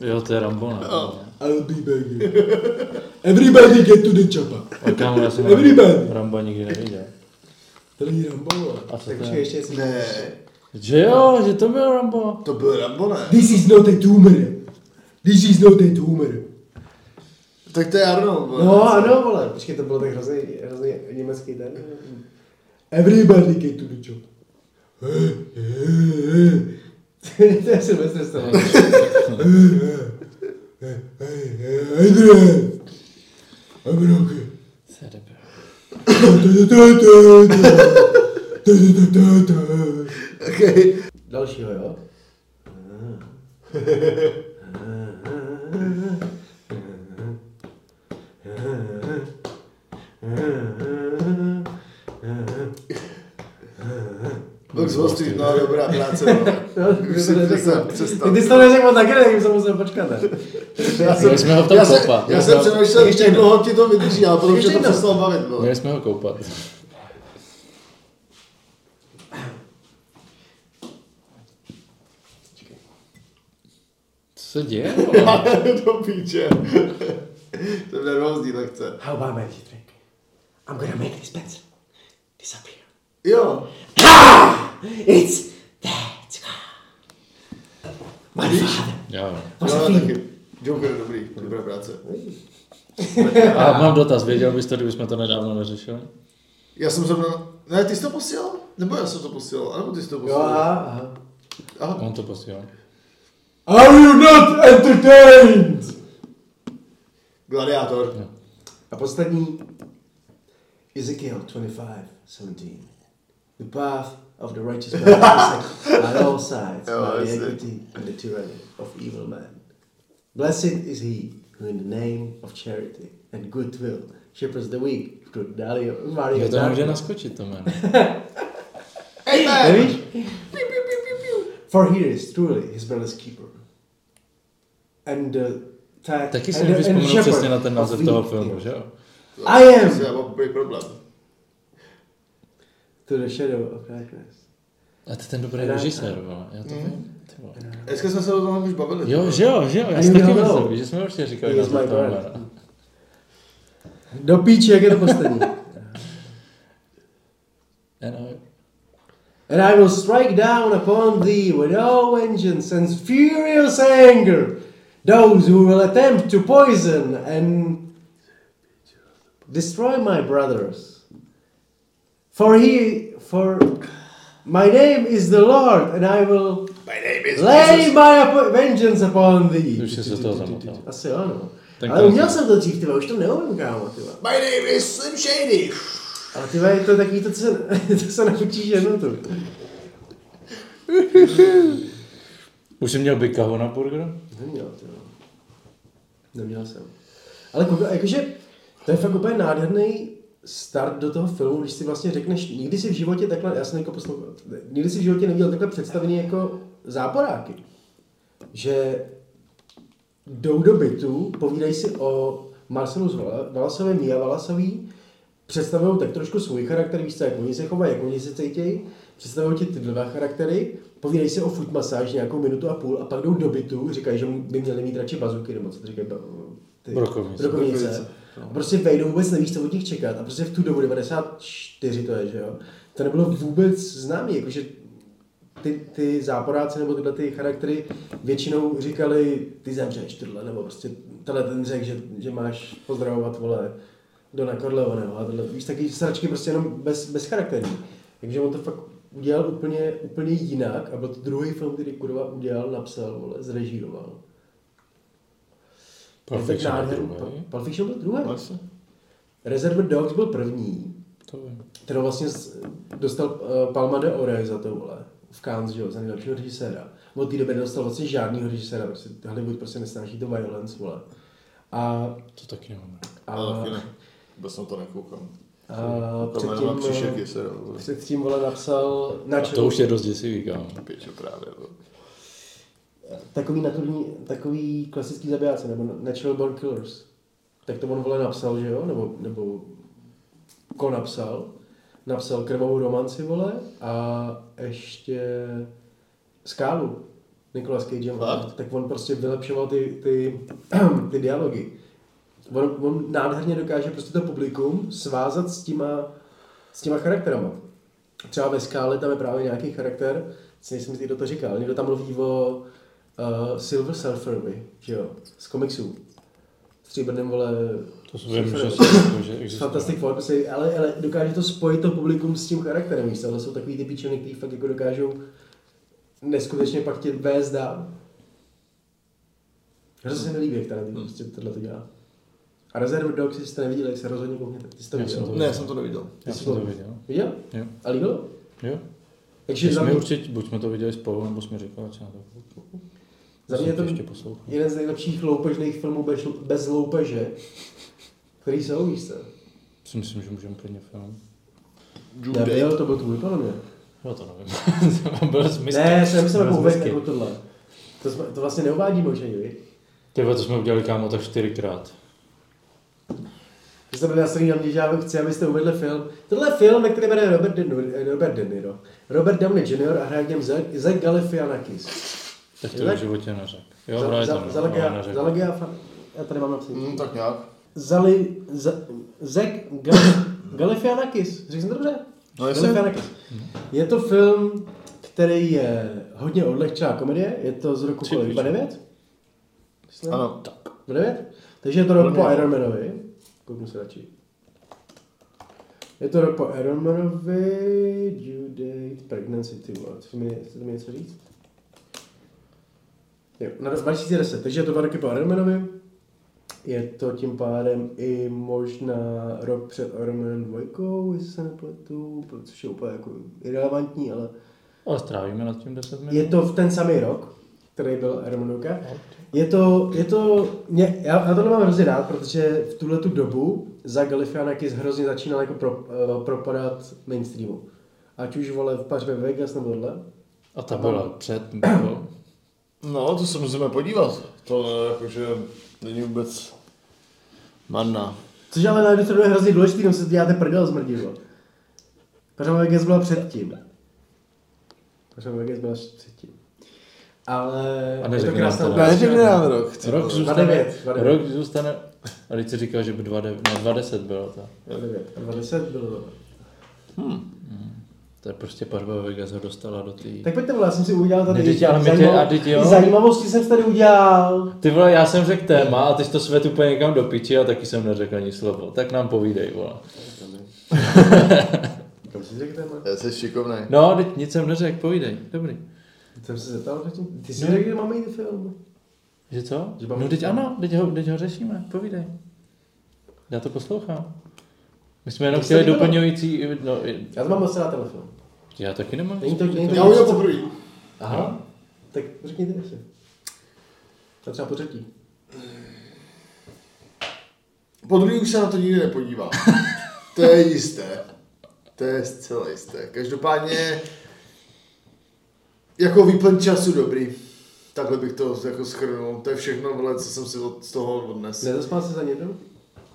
[SPEAKER 2] Jo, to je Rambo, ne?
[SPEAKER 1] No.
[SPEAKER 2] ale-
[SPEAKER 6] I'll be back. Everybody get to the chopper.
[SPEAKER 2] Ale kámo, já jsem
[SPEAKER 6] Everybody.
[SPEAKER 2] Rambo, Rambo nikdy neviděl.
[SPEAKER 6] To není Rambo,
[SPEAKER 2] A co to
[SPEAKER 6] tak
[SPEAKER 2] je?
[SPEAKER 6] počkej, ještě jestli...
[SPEAKER 1] Ne,
[SPEAKER 2] Že jo, že to byl Rambo.
[SPEAKER 1] to byl Rambo, ne?
[SPEAKER 6] This is not a tumor. This is not a tumor.
[SPEAKER 1] Tak to je Arnold, vole.
[SPEAKER 6] No ano, vole, počkej, to bylo tak hrozný, hrozný německý ten. Everybody get to the job. to je Silvestr Stallone. Adrian! I'm okay.
[SPEAKER 2] To je debil.
[SPEAKER 1] Okay.
[SPEAKER 6] Dalšího, jo?
[SPEAKER 1] Lux Wall Street, no dobrá práce, vole.
[SPEAKER 6] No,
[SPEAKER 1] Už si přestal, přestal.
[SPEAKER 6] Ty jsi to neřekl taky, tak jsem musel počkat. ne?
[SPEAKER 1] Já jsem,
[SPEAKER 2] Měli jsme ho v tom
[SPEAKER 1] já jsem,
[SPEAKER 2] koupat.
[SPEAKER 1] já jsem
[SPEAKER 2] Měli jsme-
[SPEAKER 1] přemýšlel,
[SPEAKER 6] Ještě
[SPEAKER 1] jak dlouho ti to vydrží, ale potom
[SPEAKER 6] Ještě
[SPEAKER 1] tě to
[SPEAKER 6] jednou.
[SPEAKER 1] přestalo bavit, no. vole.
[SPEAKER 2] Měli jsme ho koupat. Co se děje? vole?
[SPEAKER 1] Do píče. Jsem nervózní lekce.
[SPEAKER 6] How about magic trick? I'm gonna make this pencil disappear.
[SPEAKER 1] Jo.
[SPEAKER 6] It's that. My father
[SPEAKER 2] Jo.
[SPEAKER 1] Jo,
[SPEAKER 6] was a fiend.
[SPEAKER 1] No, taky. Joker, dobrý, dobrá práce.
[SPEAKER 2] A mám dotaz, věděl bys to, kdybychom to nedávno neřešili?
[SPEAKER 1] Já jsem zrovna... Ne, ty jsi to posílal? Nebo já jsem to posílal? Anebo ty jsi to
[SPEAKER 6] Jo,
[SPEAKER 1] posílal?
[SPEAKER 6] aha, aha.
[SPEAKER 1] Aha.
[SPEAKER 2] On to posílal.
[SPEAKER 6] uh. Are you not entertained?
[SPEAKER 1] Gladiátor.
[SPEAKER 6] A poslední. Ezekiel 25, 17. The path of the righteous man is set by all sides,
[SPEAKER 1] Jo,
[SPEAKER 6] by the
[SPEAKER 1] jasně.
[SPEAKER 6] equity and the tyranny of evil man. Blessed is he who in the name of charity and goodwill shepherds the weak through the valley of valley
[SPEAKER 2] Jo,
[SPEAKER 6] of
[SPEAKER 2] to může
[SPEAKER 6] darkness.
[SPEAKER 2] naskočit to jméno.
[SPEAKER 1] Amen!
[SPEAKER 6] Nevíš? For he is truly his brother's keeper. And the ta-
[SPEAKER 2] Taky si
[SPEAKER 6] and the-
[SPEAKER 2] mi
[SPEAKER 6] and the
[SPEAKER 2] vzpomněl
[SPEAKER 6] shepherd
[SPEAKER 2] přesně na ten
[SPEAKER 6] of
[SPEAKER 2] název
[SPEAKER 6] weak
[SPEAKER 2] toho
[SPEAKER 6] people.
[SPEAKER 2] filmu, že jo?
[SPEAKER 6] I am
[SPEAKER 1] To je dobrý problém.
[SPEAKER 6] to the shadow of darkness.
[SPEAKER 2] A to je ten dobrý
[SPEAKER 6] Rád,
[SPEAKER 2] režisér, vole. Já to vím. ty vole.
[SPEAKER 1] Dneska jsme se o tom už bavili.
[SPEAKER 2] Jo, že jo, že jo, já
[SPEAKER 6] A
[SPEAKER 2] si
[SPEAKER 6] you
[SPEAKER 2] taky
[SPEAKER 6] know.
[SPEAKER 2] myslím, že jsme určitě říkali
[SPEAKER 6] He is
[SPEAKER 2] název
[SPEAKER 6] my
[SPEAKER 2] toho
[SPEAKER 6] brother.
[SPEAKER 2] jména.
[SPEAKER 6] Do píči, jak je to poslední.
[SPEAKER 2] Ano,
[SPEAKER 6] And I will strike down upon thee with all vengeance and furious anger those who will attempt to poison and destroy my brothers. For he, for my name is the Lord, and I will
[SPEAKER 1] My name is
[SPEAKER 6] lay my apo- vengeance upon thee.
[SPEAKER 2] Už jsi se toho zamotal.
[SPEAKER 6] Asi ano.
[SPEAKER 2] Ten
[SPEAKER 6] Ale
[SPEAKER 2] konec.
[SPEAKER 6] uměl jsem to dřív, tyva, už to neumím, kámo, tyva.
[SPEAKER 1] My name is Slim Shady.
[SPEAKER 6] Ale tyva, je to takový to, co se, to se naučíš jenom tu.
[SPEAKER 2] Už jsi měl byka ho na burger?
[SPEAKER 6] Neměl, ty jo. Neměl jsem. Ale kouka, jakože to je fakt úplně nádherný start do toho filmu, když si vlastně řekneš, nikdy si v životě takhle, já jsem jako poslouchal, nikdy si v životě neviděl takhle představený jako záporáky. Že jdou do bytu, povídají si o Marcelu Zvala- Valasovi, Mia Valasový, představují tak trošku svůj charakter, víš co, jak oni se chovají, jak oni se cítějí, představují ti ty dva charaktery, povídají si o foot masáž nějakou minutu a půl a pak jdou do bytu, říkají, že by měli mít radši bazuky, nebo co to říkají, ba- ty
[SPEAKER 2] Brokovnice.
[SPEAKER 6] brokovnice. A prostě vejdou, vůbec nevíš, co od nich čekat. A prostě v tu dobu, 94 to je, že jo, to nebylo vůbec známý, jakože ty, ty záporáci nebo tyhle ty charaktery většinou říkali, ty zemřeš tohle, nebo prostě tenhle ten řekl, že, že máš pozdravovat, vole, Dona Corleoneho a tohle, víš, taky sračky prostě jenom bez, bez charakterů. Takže on to fakt udělal úplně, úplně jinak a byl to druhý film, který Kurva udělal, napsal, vole, zrežíroval.
[SPEAKER 2] Pulp
[SPEAKER 6] Je tak
[SPEAKER 2] Fiction byl
[SPEAKER 6] nádherný.
[SPEAKER 2] druhý.
[SPEAKER 6] Pulp Fiction byl druhý. Reservoir Dogs byl první,
[SPEAKER 2] To vím.
[SPEAKER 6] který vlastně s- dostal uh, Palma de Ore za to, vole, v Cannes, že jo, za nejlepšího režiséra. Od té doby nedostal vlastně žádnýho režiséra, prostě Hollywood prostě nesnáší to violence, vole. A,
[SPEAKER 2] To taky nemám. rád.
[SPEAKER 6] a,
[SPEAKER 1] Ale taky ne. Vůbec na to nekoukám.
[SPEAKER 6] a
[SPEAKER 1] Tohle nemám
[SPEAKER 6] předtím,
[SPEAKER 1] příšerky
[SPEAKER 6] eh,
[SPEAKER 1] se, jo. vole.
[SPEAKER 6] předtím, vole, napsal na
[SPEAKER 2] A to už je dost děsivý, kámo.
[SPEAKER 1] Píču právě, vole.
[SPEAKER 6] takový naturní, takový klasický zabijáci, nebo Natural Born Killers. Tak to on vole napsal, že jo? Nebo, nebo ko napsal. Napsal krvavou romanci, vole, a ještě Skálu. Nicolas Cage.
[SPEAKER 1] Fakt?
[SPEAKER 6] Tak on prostě vylepšoval ty, ty, ty dialogy. On, on nádherně dokáže prostě to publikum svázat s těma, s těma charakterama. Třeba ve skále tam je právě nějaký charakter, si nejsem jistý, kdo to říkal, ale někdo tam mluví o uh, Silver Surferovi, že jo, z komiksů. Stříbrném vole...
[SPEAKER 2] To si vím, že,
[SPEAKER 6] surferovi.
[SPEAKER 2] se, že
[SPEAKER 6] Fantastic
[SPEAKER 2] existuje.
[SPEAKER 6] Four, prostě, ale, ale dokáže to spojit to publikum s tím charakterem, víš, co? to jsou takový ty píčovny, který fakt jako dokážou neskutečně pak tě vést dál. Hrozně se mi líbí, jak tady
[SPEAKER 2] Hmm.
[SPEAKER 6] prostě tohle to dělá. A Reservoir Dogs, jestli jste neviděl, jak se rozhodně koukněte. Ty jsi to
[SPEAKER 2] Já
[SPEAKER 6] viděl?
[SPEAKER 2] jsem to-
[SPEAKER 1] Ne, já jsem to neviděl.
[SPEAKER 2] Já jsem to viděl.
[SPEAKER 6] Viděl?
[SPEAKER 2] Jo.
[SPEAKER 6] A líbilo?
[SPEAKER 2] Jo?
[SPEAKER 6] Takže za
[SPEAKER 2] Jsme
[SPEAKER 6] mě,
[SPEAKER 2] určitě, buď jsme to viděli spolu, nebo jsme říkali, že na to
[SPEAKER 6] za mě je to
[SPEAKER 2] ještě poslouchal.
[SPEAKER 6] jeden z nejlepších loupežných filmů bez, bez loupeže, který jsou, víš co?
[SPEAKER 2] Si myslím, že můžeme klidně film.
[SPEAKER 1] Jude Date.
[SPEAKER 6] Nebyl, to byl tvůj, podle mě.
[SPEAKER 2] Já No, to nevím. to byl smysl.
[SPEAKER 6] Ne, jsem myslel
[SPEAKER 2] Byl
[SPEAKER 6] vůbec
[SPEAKER 2] smysl.
[SPEAKER 6] jako tohle. To, jsme, to vlastně neuvádíme už ani, viď?
[SPEAKER 2] Ty vole, to jsme udělali kámo tak čtyřikrát.
[SPEAKER 6] Vy jste byli nasraný na mě, že já vám chci, abyste uvedli film. Tohle je film, ve kterém hraje Robert, De, Niro- Robert De Niro. Robert Downey Jr. a hraje v něm Zac- Zach Galifianakis.
[SPEAKER 2] Tak to
[SPEAKER 6] Jinak-
[SPEAKER 2] v životě neřekl. Jo, no.
[SPEAKER 6] Za-
[SPEAKER 2] hraje
[SPEAKER 6] za-
[SPEAKER 2] tam.
[SPEAKER 6] za
[SPEAKER 2] ale
[SPEAKER 6] Legia-
[SPEAKER 2] neřekl.
[SPEAKER 6] za Legia fan- Já tady mám napsaný.
[SPEAKER 1] Hm, tak nějak.
[SPEAKER 6] Zali, za, Zek Gal, Galifianakis, řekl jsem to dobře?
[SPEAKER 1] No, jasně.
[SPEAKER 6] Galifianakis. Je to film, který je hodně odlehčená komedie, je to z roku
[SPEAKER 2] Tři
[SPEAKER 6] kolik?
[SPEAKER 2] píče.
[SPEAKER 6] 29? Myslím.
[SPEAKER 1] Ano.
[SPEAKER 6] 29? Takže je to rok po Ironmanovi. Kouknu se radši. Je to rok po Ironmanovi, due date, pregnancy, ty vole, chcete mi, chcete mi něco říct? Jo, na rok 2010, takže je to dva roky po Ironmanovi. Je to tím pádem i možná rok před Ironmanem 2, jestli se nepletu, což je úplně jako irrelevantní, ale
[SPEAKER 2] Ale strávíme nad tím 10 minut.
[SPEAKER 6] je to v ten samý rok, který byl Hermanuka. Je to, je to, mě, já, já tohle mám hrozně rád, protože v tuhle tu dobu za Galifianakis hrozně začínal jako pro, uh, propadat mainstreamu. Ať už vole v pařbě Vegas nebo tohle.
[SPEAKER 2] A ta byla před nebo...
[SPEAKER 1] No, to se musíme podívat. To jakože není vůbec marná.
[SPEAKER 6] Což ale na jednu stranu je hrozně důležitý, jenom se to děláte prdel z mrdidlo. Pařbě Vegas byla předtím. Pařbě Vegas byla předtím. Ale...
[SPEAKER 2] A
[SPEAKER 6] je to
[SPEAKER 2] neřekne
[SPEAKER 6] krásná
[SPEAKER 2] nám to,
[SPEAKER 1] Já
[SPEAKER 2] ne?
[SPEAKER 6] ukázka.
[SPEAKER 1] nevím, nám rok. chci
[SPEAKER 2] Rok
[SPEAKER 1] to-
[SPEAKER 2] zůstane...
[SPEAKER 6] 29, 29.
[SPEAKER 2] Rok zůstane... A teď si říkal, že by 20, no, 20 byla ta.
[SPEAKER 6] 29, 20 bylo dobré.
[SPEAKER 2] To je prostě pařba Vegas ho dostala do té...
[SPEAKER 6] Tak pojďte, vole, já jsem si udělal tady
[SPEAKER 2] Ne, teď, ale my tě-
[SPEAKER 6] zajímavou-
[SPEAKER 2] a teď jo.
[SPEAKER 6] zajímavosti jsem si tady udělal.
[SPEAKER 2] Ty vole, já jsem řekl téma a teď to svet úplně někam do piči a taky jsem neřekl ani slovo. Tak nám povídej, vole.
[SPEAKER 6] Kam jsi řekl téma?
[SPEAKER 1] Já jsi šikovnej.
[SPEAKER 2] No, teď nic jsem neřekl, povídej. Dobrý.
[SPEAKER 6] Jsem se zeptal předtím. Ty jsi mi řekl, že máme jít film.
[SPEAKER 2] Že co?
[SPEAKER 6] Že mám-
[SPEAKER 2] no teď ano, teď ho, teď ho řešíme, povídej. Já to poslouchám. My jsme jenom
[SPEAKER 6] To
[SPEAKER 2] chtěli
[SPEAKER 6] se líbilo.
[SPEAKER 2] doplňující, no,
[SPEAKER 6] Já to mám moc rád ten film.
[SPEAKER 2] já taky nemám.
[SPEAKER 6] Není to, není to
[SPEAKER 1] Já udělal poprvé.
[SPEAKER 6] Aha. Tak řekněte si. A třeba po třetí.
[SPEAKER 1] Po druhý už se na to nikdy nepodívá. To je jisté. To je zcela jisté. Každopádně jako výplň času dobrý. Takhle bych to jako schrnul. To je všechno, vole, co jsem si od, z toho odnesl.
[SPEAKER 6] Nezaspal se za jednou?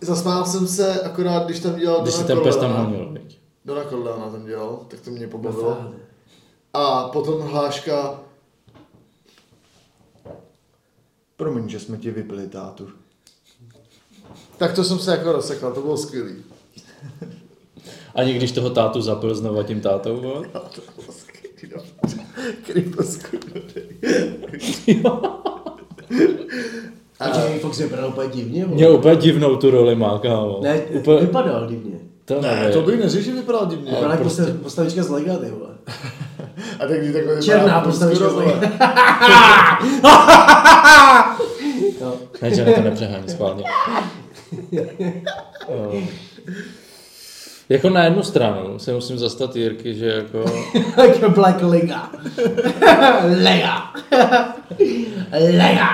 [SPEAKER 1] Zasmál jsem se akorát, když tam dělal
[SPEAKER 2] Když
[SPEAKER 1] Dona
[SPEAKER 2] si ten pes tam
[SPEAKER 1] Corleona.
[SPEAKER 2] honil, viď?
[SPEAKER 1] Dona Corleona tam dělal, tak to mě pobavilo. A potom hláška... Promiň, že jsme ti vypili tátu. Tak to jsem se jako rozsekal, to bylo skvělý.
[SPEAKER 2] Ani když toho tátu zabil znova tím tátou, vole?
[SPEAKER 1] Kryptosku.
[SPEAKER 6] A Jamie Fox vypadal úplně divně, vole.
[SPEAKER 2] Mě úplně divnou tu roli má, kámo.
[SPEAKER 6] Ne,
[SPEAKER 2] úplně,
[SPEAKER 6] vypadal divně.
[SPEAKER 2] to
[SPEAKER 1] Ne,
[SPEAKER 2] nevím.
[SPEAKER 1] to bych neřekl, že vypadal divně.
[SPEAKER 6] Vypadal jako
[SPEAKER 2] prostě-
[SPEAKER 6] prostě... postavička z Lega, ty vole.
[SPEAKER 1] A tak když takhle
[SPEAKER 6] Černá
[SPEAKER 1] vypadá,
[SPEAKER 6] postavička
[SPEAKER 1] prostě,
[SPEAKER 6] z Lega.
[SPEAKER 1] vole.
[SPEAKER 2] Ne, že to nepřehání schválně. Eh, jako na jednu stranu se musím zastat Jirky, že jako...
[SPEAKER 6] Like a Black Lega. Lega. Lega.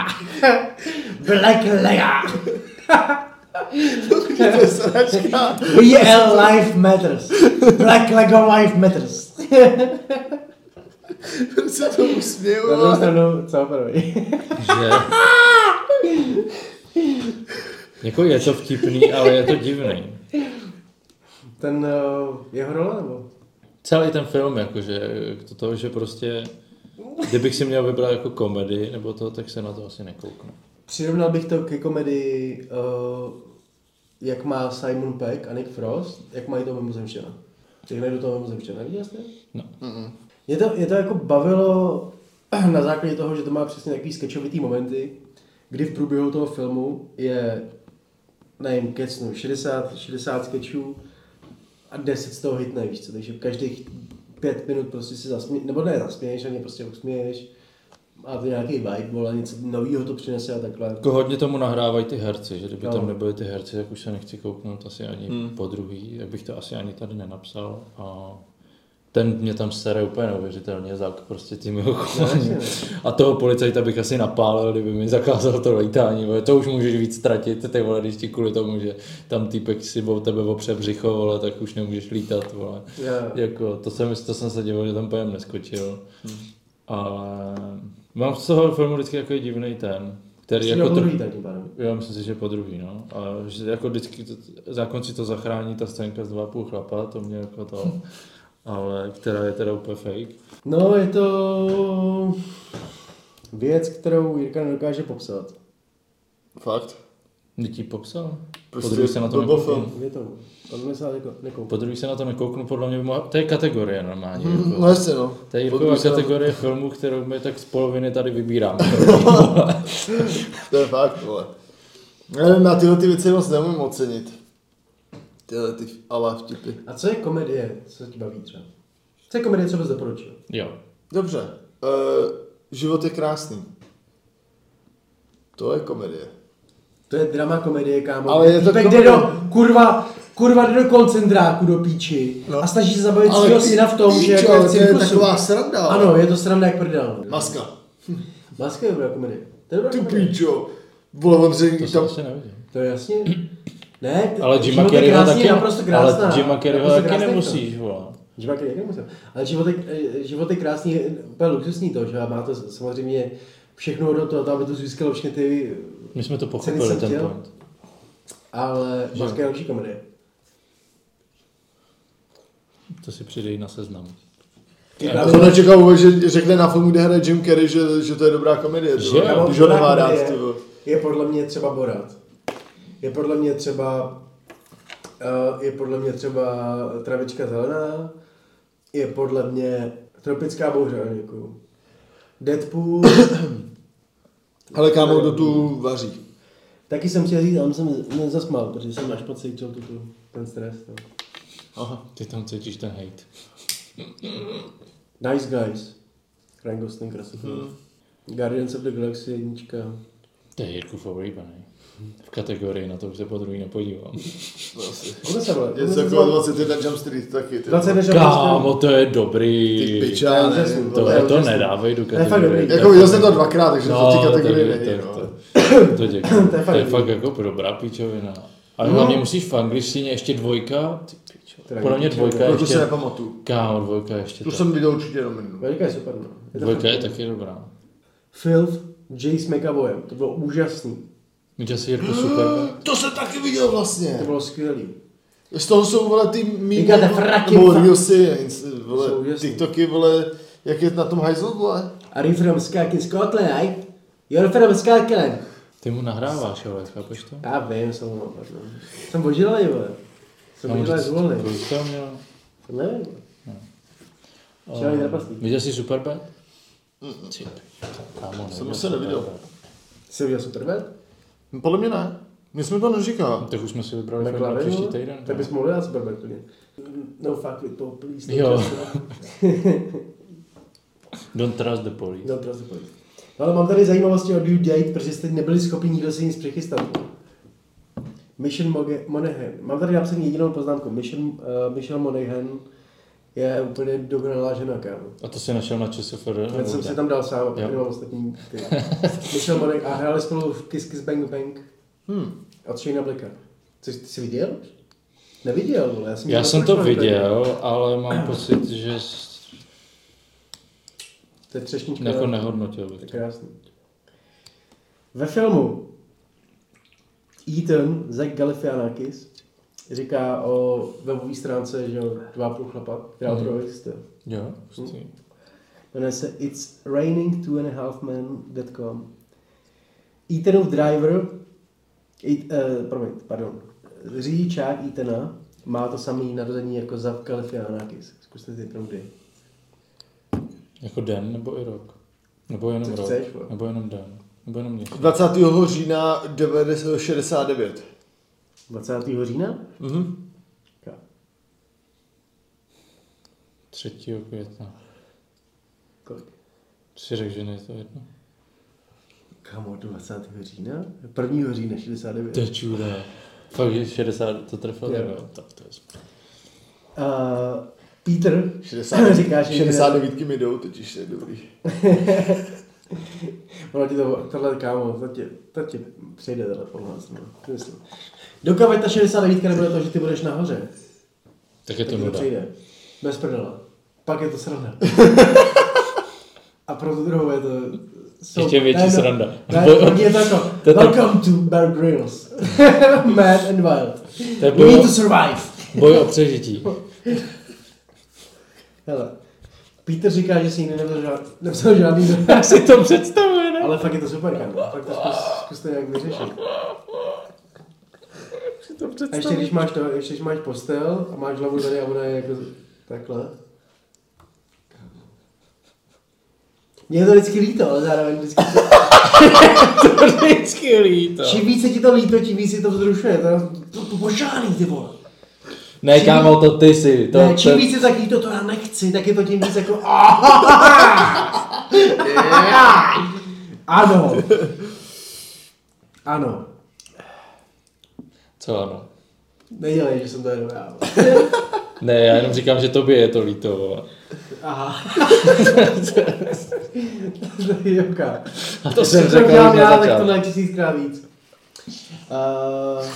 [SPEAKER 6] Black Lega.
[SPEAKER 1] To je sračka.
[SPEAKER 6] BL Life Matters. Black Lego Life Matters.
[SPEAKER 1] Se to usměju.
[SPEAKER 6] Na druhou
[SPEAKER 1] vole.
[SPEAKER 6] stranu, co první?
[SPEAKER 2] že... Jako je to vtipný, ale je to divný.
[SPEAKER 6] Ten uh, jeho role, nebo?
[SPEAKER 2] Celý ten film, jakože to, to, že prostě... Kdybych si měl vybrat jako komedii nebo to, tak se na to asi nekouknu.
[SPEAKER 6] Přirovnal bych to ke komedii, uh, jak má Simon Peck a Nick Frost, jak mají to mimozemštěna. Teď najdu toho mimozemštěna, viděl jste?
[SPEAKER 2] No.
[SPEAKER 6] Mě to, mě to jako bavilo na základě toho, že to má přesně takový sketchovitý momenty, kdy v průběhu toho filmu je, nevím, kecnu, 60, 60 sketchů a 10 z toho hitne, víš co, takže každých pět minut prostě si zasměješ, nebo ne zasměješ, ani prostě usměješ. Má to nějaký vibe, vole, něco novýho to přinese a takhle.
[SPEAKER 2] Jako hodně tomu nahrávají ty herci, že kdyby
[SPEAKER 6] Jo.
[SPEAKER 2] tam nebyly ty herci, tak už se nechci kouknout asi ani hmm. po druhý, tak bych to asi ani tady nenapsal. A ten mě tam sere úplně neuvěřitelně, zak prostě tím jeho
[SPEAKER 6] No,
[SPEAKER 2] chováním. A toho policajta bych asi napálil, kdyby mi zakázal to lítání, vole. to už můžeš víc ztratit, ty vole, když ti kvůli tomu, že tam týpek si o tebe opře břicho, vole, tak už nemůžeš lítat, vole.
[SPEAKER 6] Jo.
[SPEAKER 2] Jako, to jsem, to jsem se divil, že tam pojem neskočil. Ale mám z toho filmu vždycky takový divný ten, který
[SPEAKER 6] Jako
[SPEAKER 2] jako
[SPEAKER 6] to...
[SPEAKER 2] tr-
[SPEAKER 6] druhý tak tím pádem.
[SPEAKER 2] Jo, myslím si, že po druhý, no. A že jako vždycky to, za konci to zachrání ta scénka z dva a půl chlapa, to mě jako to, ale která je teda úplně fake.
[SPEAKER 6] No, je to věc, kterou Jirka nedokáže popsat.
[SPEAKER 1] Fakt.
[SPEAKER 2] Kdy ti popsal?
[SPEAKER 1] Prostě
[SPEAKER 2] po druhý se na to
[SPEAKER 1] blbo
[SPEAKER 2] nekouknu.
[SPEAKER 1] film.
[SPEAKER 6] Je to, on mi se jako nekoupil.
[SPEAKER 2] Po druhý se na to nekouknu, podle mě by mohla... To je kategorie normálně.
[SPEAKER 1] Mm,
[SPEAKER 2] Jako.
[SPEAKER 1] No jasně no.
[SPEAKER 2] To je
[SPEAKER 1] Podívej
[SPEAKER 2] Jirková
[SPEAKER 1] se na-
[SPEAKER 2] kategorie filmů, kterou my tak z poloviny tady vybíráme.
[SPEAKER 1] To je fakt, vole. Já nevím, na tyhle ty věci moc neumím ocenit. Tyhle ty ale vtipy.
[SPEAKER 6] A co je komedie, co ti baví třeba? Co je komedie, co bys doporučil?
[SPEAKER 2] jo.
[SPEAKER 1] Dobře. Uh, život je krásný. To je komedie.
[SPEAKER 6] To je drama komedie, kámo.
[SPEAKER 1] Ale je to
[SPEAKER 6] Týpek
[SPEAKER 1] komedie.
[SPEAKER 6] jde do, kurva, kurva jde do koncentráku, do píči.
[SPEAKER 1] No.
[SPEAKER 6] No. A snaží se zabavit
[SPEAKER 1] Ale
[SPEAKER 6] svého
[SPEAKER 1] ty
[SPEAKER 6] syna v tom, že
[SPEAKER 1] píčo,
[SPEAKER 6] jako je v
[SPEAKER 1] to je
[SPEAKER 6] cirkusu.
[SPEAKER 1] taková sranda, ale.
[SPEAKER 6] Ano, je to sranda jak prdel.
[SPEAKER 1] Maska.
[SPEAKER 6] Maska je dobrá komedie. To je dobrá
[SPEAKER 1] Ty
[SPEAKER 6] komedie.
[SPEAKER 1] píčo. Vole, on řekl,
[SPEAKER 2] To jsem
[SPEAKER 1] tam...
[SPEAKER 2] asi neviděl.
[SPEAKER 6] To je jasně. Ne, t-
[SPEAKER 2] Ale
[SPEAKER 6] život
[SPEAKER 2] Jima
[SPEAKER 6] je
[SPEAKER 2] Carreyho
[SPEAKER 6] krásný,
[SPEAKER 2] taky,
[SPEAKER 6] naprosto krásná.
[SPEAKER 2] ale Jima Carreyho
[SPEAKER 6] Naprosto
[SPEAKER 2] taky
[SPEAKER 6] krásný film.
[SPEAKER 2] nemusíš, vole.
[SPEAKER 6] Jim Carrey taky nemusel. Ale život je, eh, život je krásný, je úplně luxusní to, že jo, a má to samozřejmě všechno do toho, aby to získalo všechny ty,
[SPEAKER 2] My jsme to
[SPEAKER 6] Ceny
[SPEAKER 2] pochopili,
[SPEAKER 6] jsem
[SPEAKER 2] ten
[SPEAKER 6] chtěl.
[SPEAKER 2] point.
[SPEAKER 6] ale
[SPEAKER 2] Že-
[SPEAKER 6] maska je lepší komedie.
[SPEAKER 2] To si přidej na seznam.
[SPEAKER 1] Já to nečekal, že řekne na filmu, kde hraje Jim Carrey, že, že to je dobrá komedie.
[SPEAKER 2] Že
[SPEAKER 1] Že?
[SPEAKER 2] jo.
[SPEAKER 1] Že ho nemá
[SPEAKER 6] Komedie
[SPEAKER 1] rád, ty vole.
[SPEAKER 6] Je podle mě třeba Borat. Je podle mě třeba eh, je podle mě třeba Travička zelená. Je podle mě Tropická bouře, ano, děkuju. Deadpool.
[SPEAKER 1] Ale kámo, kdo tu vaří?
[SPEAKER 6] Taky jsem chtěl říct, ale jsem nezasmál, protože jsem až pocítil tu, tu, ten stres. No.
[SPEAKER 2] Aha. Ty tam cítíš ten hate.
[SPEAKER 1] Mhm.
[SPEAKER 6] Nice Guys. Ryan Gosling, krásný. Hmm. Guardians of the Galaxy jednička.
[SPEAKER 2] To je Jirku Foulíbený. V kategorii na to už se po druhý nepodívám.
[SPEAKER 1] To asi.
[SPEAKER 6] Ono se vole.
[SPEAKER 1] Je to jako 21 Jump Street taky, ty.
[SPEAKER 6] 20
[SPEAKER 1] vole.
[SPEAKER 6] než
[SPEAKER 2] Kámo, to je dobrý.
[SPEAKER 1] Ty piča,
[SPEAKER 6] To je
[SPEAKER 1] ne.
[SPEAKER 6] úžasný.
[SPEAKER 1] vole.
[SPEAKER 2] Tohle to No, nedávej do
[SPEAKER 6] je fakt
[SPEAKER 2] kategorie.
[SPEAKER 6] dobrý.
[SPEAKER 1] Jako viděl jsem to dvakrát, takže to v té kategorii
[SPEAKER 2] tak-
[SPEAKER 1] není,
[SPEAKER 2] tak-
[SPEAKER 1] no.
[SPEAKER 2] tak- To děkuji.
[SPEAKER 6] To je fakt
[SPEAKER 2] To je
[SPEAKER 6] dobrý.
[SPEAKER 2] fakt jako dobrá píčovina. A hlavně musíš v angličtině ještě dvojka. Ty pičo.
[SPEAKER 6] Teda
[SPEAKER 2] Podle mě
[SPEAKER 6] píčovina.
[SPEAKER 2] dvojka
[SPEAKER 1] Proto jako- se Jako
[SPEAKER 2] ještě.
[SPEAKER 1] nepamatuju.
[SPEAKER 2] Kámo, dvojka ještě.
[SPEAKER 1] Tu
[SPEAKER 2] tak.
[SPEAKER 1] jsem viděl určitě jenom jednou.
[SPEAKER 6] Velika je super, no. Je to
[SPEAKER 2] Dvojka
[SPEAKER 6] fakt-
[SPEAKER 2] je taky dobrá.
[SPEAKER 6] Filth, Jay s McAvoyem, to bylo úžasný.
[SPEAKER 2] Mít asi Jirku super.
[SPEAKER 1] To jsem taky viděl
[SPEAKER 6] To
[SPEAKER 1] vlastně.
[SPEAKER 6] bylo skvělý.
[SPEAKER 1] Z toho jsou vole ty mýmy,
[SPEAKER 6] Říkáte fraky,
[SPEAKER 1] nebo
[SPEAKER 6] fuck.
[SPEAKER 1] reelsy, ins-
[SPEAKER 6] Jsou
[SPEAKER 1] vole,
[SPEAKER 6] úžasný.
[SPEAKER 1] tiktoky, vole, jak je na tom hajzl, vole.
[SPEAKER 6] Are you from Skakin Scotland, I? You're from Scotland.
[SPEAKER 2] Ty mu nahráváš, ale chápeš to?
[SPEAKER 6] Já vím, jsem ho napadl. Jsem božilej, vole. Jsem božilej zvolený.
[SPEAKER 2] Kolik to měl?
[SPEAKER 6] To nevím, vole.
[SPEAKER 1] No. Eh.
[SPEAKER 6] Žádný trpaslík.
[SPEAKER 2] Viděl jsi Superbad? Ty pičo, Kámo,
[SPEAKER 1] Jsem se neviděl. No,
[SPEAKER 2] Superbad.
[SPEAKER 6] Jsi viděl Superman?
[SPEAKER 1] Podle mě ne. My jsme to neříkali.
[SPEAKER 2] Tak už jsme si vybrali film na
[SPEAKER 6] McLaren,
[SPEAKER 2] příští
[SPEAKER 6] vole?
[SPEAKER 2] týden.
[SPEAKER 6] Tak
[SPEAKER 2] no.
[SPEAKER 6] bys mohl dát Superman klidně. No fuck with Paul, please. no
[SPEAKER 2] Jo.
[SPEAKER 6] trust me.
[SPEAKER 2] Don't trust the police.
[SPEAKER 6] No, trust the police. No, ale mám tady zajímavosti o due date, protože jste nebyli schopni nikdo si nic přechystat. Mission Moge- Monaghan. Mám tady napsaný jedinou poznámku. Mission, uh, Michelle Monaghan je úplně dokonalá žena, kámo.
[SPEAKER 2] A to si našel na ČSFD?
[SPEAKER 6] Já jsem si tam dal sám, protože nemám ostatní. ty. Michelle Monaghan a hráli spolu v Kiss Kiss Bang Bang.
[SPEAKER 1] Hmm.
[SPEAKER 6] Od Shane Blacka. Což ty jsi viděl? Neviděl, vole. Já jsem,
[SPEAKER 2] Já
[SPEAKER 6] viděl
[SPEAKER 2] jsem to
[SPEAKER 6] prošlý trailer.
[SPEAKER 2] viděl, ale mám pocit, že s-
[SPEAKER 6] To je třešnička.
[SPEAKER 2] jako nehodnotil
[SPEAKER 6] To je
[SPEAKER 2] bych to.
[SPEAKER 6] krásný. Ve filmu Ethan, Zach Galifianakis, říká o webové stránce, že jo, dva půl chlapa, která
[SPEAKER 2] Mhm.
[SPEAKER 6] opravdu existuje.
[SPEAKER 2] Jo, hustý.
[SPEAKER 6] Jmenuje se It's raining two and a half men.com. Ethanův driver, it, uh, promiň, pardon, řidičák Ethana má to samý narození jako Zach Galifianakis. Zkuste si typnout, kdy.
[SPEAKER 2] Jako den nebo i rok? Nebo jenom
[SPEAKER 6] Co
[SPEAKER 2] rok?
[SPEAKER 6] chceš, vole?
[SPEAKER 2] Nebo jenom den? Nebo jenom měsíc?
[SPEAKER 1] 20. října 69.
[SPEAKER 6] 20. října?
[SPEAKER 1] Mhm.
[SPEAKER 2] 3. května.
[SPEAKER 6] Kolik?
[SPEAKER 2] Si řekl, že ne, to je jedno?
[SPEAKER 6] Kamo, 20. října? 1. října 69.
[SPEAKER 2] To je čudé. Fakt, že 60 to trefil?
[SPEAKER 6] Jo.
[SPEAKER 2] Jo. Tak to je super.
[SPEAKER 6] Uh, Peter
[SPEAKER 1] 60,
[SPEAKER 6] říká, že
[SPEAKER 1] 69 mi jdou, totiž je dobrý.
[SPEAKER 6] Ono ti to, tohle kámo, to ti, to ti přijde tohle po nás. No. to myslím. Dokud ta 69 nebude to, že ty budeš nahoře,
[SPEAKER 2] Tak je
[SPEAKER 6] tak
[SPEAKER 2] to
[SPEAKER 6] ti to
[SPEAKER 2] nuda.
[SPEAKER 6] přijde. Bez prdela. Pak je to sranda. A pro tu druhou je to... jsou-
[SPEAKER 2] Ještě větší
[SPEAKER 6] to je-
[SPEAKER 2] sranda.
[SPEAKER 6] to je- Pro mě je to jako,
[SPEAKER 2] To je tak-
[SPEAKER 6] welcome to Bear Grylls. Mad and wild.
[SPEAKER 2] To je
[SPEAKER 6] We
[SPEAKER 2] boj
[SPEAKER 6] need to
[SPEAKER 2] o,
[SPEAKER 6] survive.
[SPEAKER 2] boj o přežití.
[SPEAKER 6] Hele, Peter říká, že si nikdy nevzal žádný, nevzal žádný
[SPEAKER 2] Jak si to představuje, ne?
[SPEAKER 6] Ale fakt je to super, kámo. Fakt to zkus, zkus to nějak vyřešit. A ještě když máš, to, ještě když máš postel a máš hlavu tady a ona je jako takhle. Mně je to vždycky líto, ale zároveň vždycky...
[SPEAKER 2] Vždycky líto.
[SPEAKER 6] Čím víc je ti to líto, tím víc je to vzrušuje. To, to, to požárný, ty vole.
[SPEAKER 2] Ne, kámo, to ty jsi. To,
[SPEAKER 6] ne,
[SPEAKER 2] to,
[SPEAKER 6] čím víc je tak líto, to já nechci, tak je to tím víc jako... ano. Ano.
[SPEAKER 2] Co ano?
[SPEAKER 6] Nedělej, že jsem to jenom já. vole.
[SPEAKER 2] Ne, já jenom říkám, že tobě je to líto, vole.
[SPEAKER 6] Aha. to je joka.
[SPEAKER 2] A to jsem
[SPEAKER 6] Když
[SPEAKER 2] řekl
[SPEAKER 6] udělám
[SPEAKER 2] už na
[SPEAKER 6] já, tak
[SPEAKER 2] začátku.
[SPEAKER 6] to je tisíckrát víc. Uh,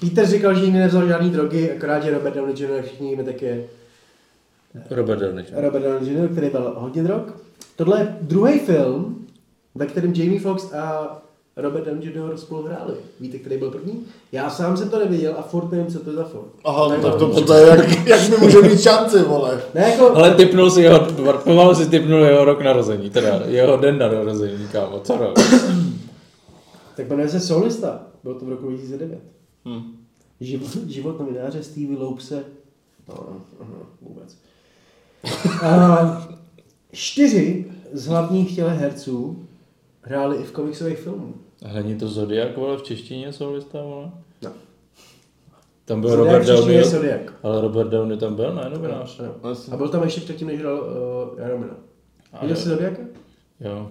[SPEAKER 6] Peter říkal, že nikdy nevzal žádný drogy, akorát, že Robert Downey Jr. všichni víme, tak je
[SPEAKER 2] Robert Downey. Jr.
[SPEAKER 6] Robert Downey Jr., který byl hodně drog. Tohle je druhý film, ve kterém Jamie Foxx a Robert Downey Jr. spolu hráli. Víte, který byl první? Já sám jsem to neviděl a furt nevím, co to je za film.
[SPEAKER 1] Aha, no,
[SPEAKER 6] Tak
[SPEAKER 1] tak
[SPEAKER 6] jo.
[SPEAKER 1] to poté, jak, jak mi může mít šanci, vole.
[SPEAKER 6] Ne, jako...
[SPEAKER 2] Ale typnul si jeho, pomalu si typnul jeho rok narození, teda jeho den na narození, kámo, co rok?
[SPEAKER 6] Tak jmenuje se Solista. Bylo to v roku 2009.
[SPEAKER 1] Hm.
[SPEAKER 6] Život, život novináře Stevie Loupse. No, no, no, vůbec. A čtyři z hlavních těle herců hráli i v komiksových filmů.
[SPEAKER 2] A Není to Zodiak, vole, v češtině solista, vole?
[SPEAKER 6] No.
[SPEAKER 2] Tam byl
[SPEAKER 6] Zodiac
[SPEAKER 2] Robert
[SPEAKER 6] v češtině
[SPEAKER 2] Downey,
[SPEAKER 6] je Zodiac.
[SPEAKER 2] ale Robert Downey tam byl, ne, novinář?
[SPEAKER 6] Ano. eh, A byl tam ještě předtím, než hrál uh, Jaromina.
[SPEAKER 2] A
[SPEAKER 6] Viděl
[SPEAKER 2] jo.
[SPEAKER 6] jsi Zodiaka?
[SPEAKER 2] Jo.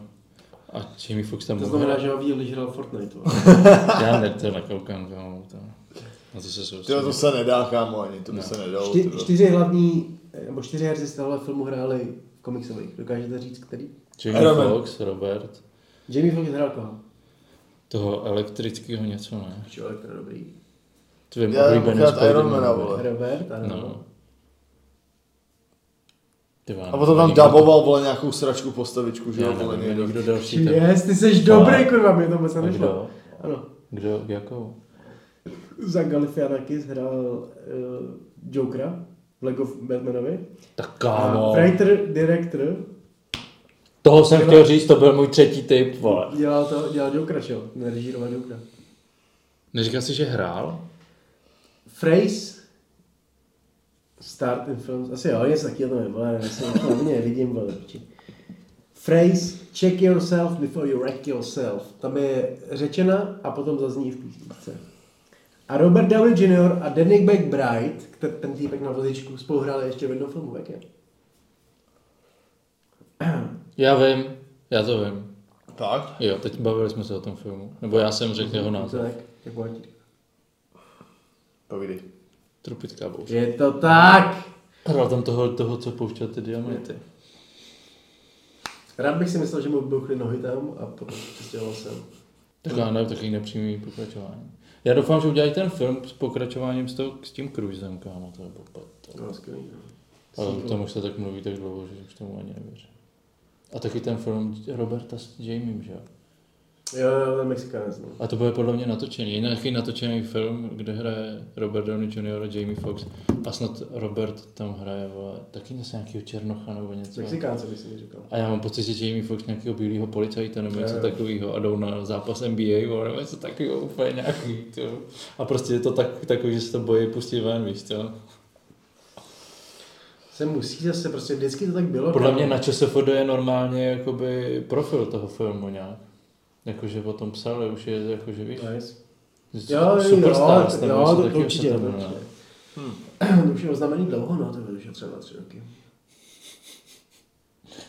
[SPEAKER 2] A Jamie Foxx tam
[SPEAKER 6] To
[SPEAKER 2] mluvil.
[SPEAKER 6] znamená, že ho viděl, když hrál Fortnite. vole.
[SPEAKER 2] Já ne, to nekoukám, kámo, to. Na to se
[SPEAKER 1] Tyjo,
[SPEAKER 2] soustředím.
[SPEAKER 1] to se nedá, kámo, ani to by
[SPEAKER 2] Ne.
[SPEAKER 1] se nedalo.
[SPEAKER 6] Čty,
[SPEAKER 1] tyjo.
[SPEAKER 6] čtyři hlavní, nebo čtyři herci z tohohle filmu hráli v komiksových. Dokážete říct, který?
[SPEAKER 2] Jamie
[SPEAKER 1] Robert.
[SPEAKER 2] Foxx, Robert,
[SPEAKER 6] Jamie Foxx hrál koho?
[SPEAKER 2] toho elektrického něco, ne?
[SPEAKER 6] Člověk, to je dobrý.
[SPEAKER 2] Tvým
[SPEAKER 1] Já jenom
[SPEAKER 2] oblíbeným
[SPEAKER 1] krát Ironmana,
[SPEAKER 2] Spider-Manem.
[SPEAKER 1] vole.
[SPEAKER 6] Robert, ano.
[SPEAKER 2] No. Ty vole,
[SPEAKER 1] A potom tam
[SPEAKER 2] nikdo-
[SPEAKER 1] daboval, vole, nějakou sračku postavičku, že
[SPEAKER 2] Já
[SPEAKER 1] jo, vole,
[SPEAKER 2] nevím,
[SPEAKER 1] někdo.
[SPEAKER 2] někdo další
[SPEAKER 6] Čím
[SPEAKER 2] ten.
[SPEAKER 6] Yes, ty seš dobrý, kurva, mě to moc
[SPEAKER 2] A
[SPEAKER 6] nešlo.
[SPEAKER 2] kdo?
[SPEAKER 6] Ano.
[SPEAKER 2] Kdo, jako? jakou?
[SPEAKER 6] Za Galifianakis hrál uh, Jokera v Lego Batmanovi.
[SPEAKER 2] Tak
[SPEAKER 6] A
[SPEAKER 2] kámo,
[SPEAKER 6] writer, director,
[SPEAKER 2] toho jsem chtěl říct, to byl můj třetí typ, vole.
[SPEAKER 6] dělal to, dělal Jokera, že jo? Nerežíroval Jokera.
[SPEAKER 2] Neříkal jsi, že hrál?
[SPEAKER 6] Phrase, Start in Films, asi jo, něco taky, to nevím, ale já jsem to ani nevidím, vole, piči. Phrase, check yourself before you wreck yourself. Tam je řečena a potom zazní v písničce. A Robert Downey Jr. a Danny McBride, který, ten týpek na vozičku, spolu hráli ještě v jednom filmu, jak je?
[SPEAKER 2] Já vím, já to vím.
[SPEAKER 1] Tak?
[SPEAKER 2] Jo, teď bavili jsme se o tom filmu. Nebo já jsem řekl jeho název.
[SPEAKER 6] Tak, jak má ti-
[SPEAKER 1] Povídej.
[SPEAKER 2] Trupická bouře.
[SPEAKER 6] Je to tak!
[SPEAKER 2] Hrál tam toho, toho, co pouštěl ty diamanty.
[SPEAKER 6] Rád bych si myslel, že mu bouchly nohy tam a potom se přestěhoval sem.
[SPEAKER 2] Tak já nevím, takový nepřímý pokračování. Já doufám, že udělají ten film s pokračováním s, to, s tím Cruisem, kámo, to je
[SPEAKER 6] To
[SPEAKER 2] popad.
[SPEAKER 6] bylo skvělý. no.
[SPEAKER 2] Ale o tom už se tak mluví tak dlouho, že už tomu ani nevěřím. A taky ten film Roberta s Jamiem, že jo?
[SPEAKER 6] Jo, jo, ten Mexikanec, no.
[SPEAKER 2] A to bude podle mě natočený. Je nějaký natočený film, kde hraje Robert Downey Jr. a Jamie Foxx. A snad Robert tam hraje, vole, taky něco nějakého Černocha nebo něco.
[SPEAKER 6] Mexikánce bych si mi říkal.
[SPEAKER 2] A já mám pocit, že Jamie Foxx nějakého bílého policajta nebo něco
[SPEAKER 6] Jo.
[SPEAKER 2] takového a jdou na zápas NBA vole, nebo něco takového úplně nějaký. To. A prostě je to tak, takový, že se to bojí pustit ven, víš to.
[SPEAKER 6] No Se musí zase, prostě vždycky to tak bylo.
[SPEAKER 2] Podle
[SPEAKER 6] kámo.
[SPEAKER 2] mě na ČSFD je normálně jakoby profil toho filmu nějak. Jakože o tom psali, už je jakože víš.
[SPEAKER 6] Nice.
[SPEAKER 2] že
[SPEAKER 6] Jo,
[SPEAKER 2] Superstars,
[SPEAKER 6] jo,
[SPEAKER 2] nebo
[SPEAKER 6] jo,
[SPEAKER 2] něco
[SPEAKER 6] to, to
[SPEAKER 2] takového se
[SPEAKER 6] určitě, to
[SPEAKER 2] to jmenuje.
[SPEAKER 6] určitě.
[SPEAKER 2] no.
[SPEAKER 6] Hmm. To už je oznámený dlouho, no, to bylo už je třeba tři roky.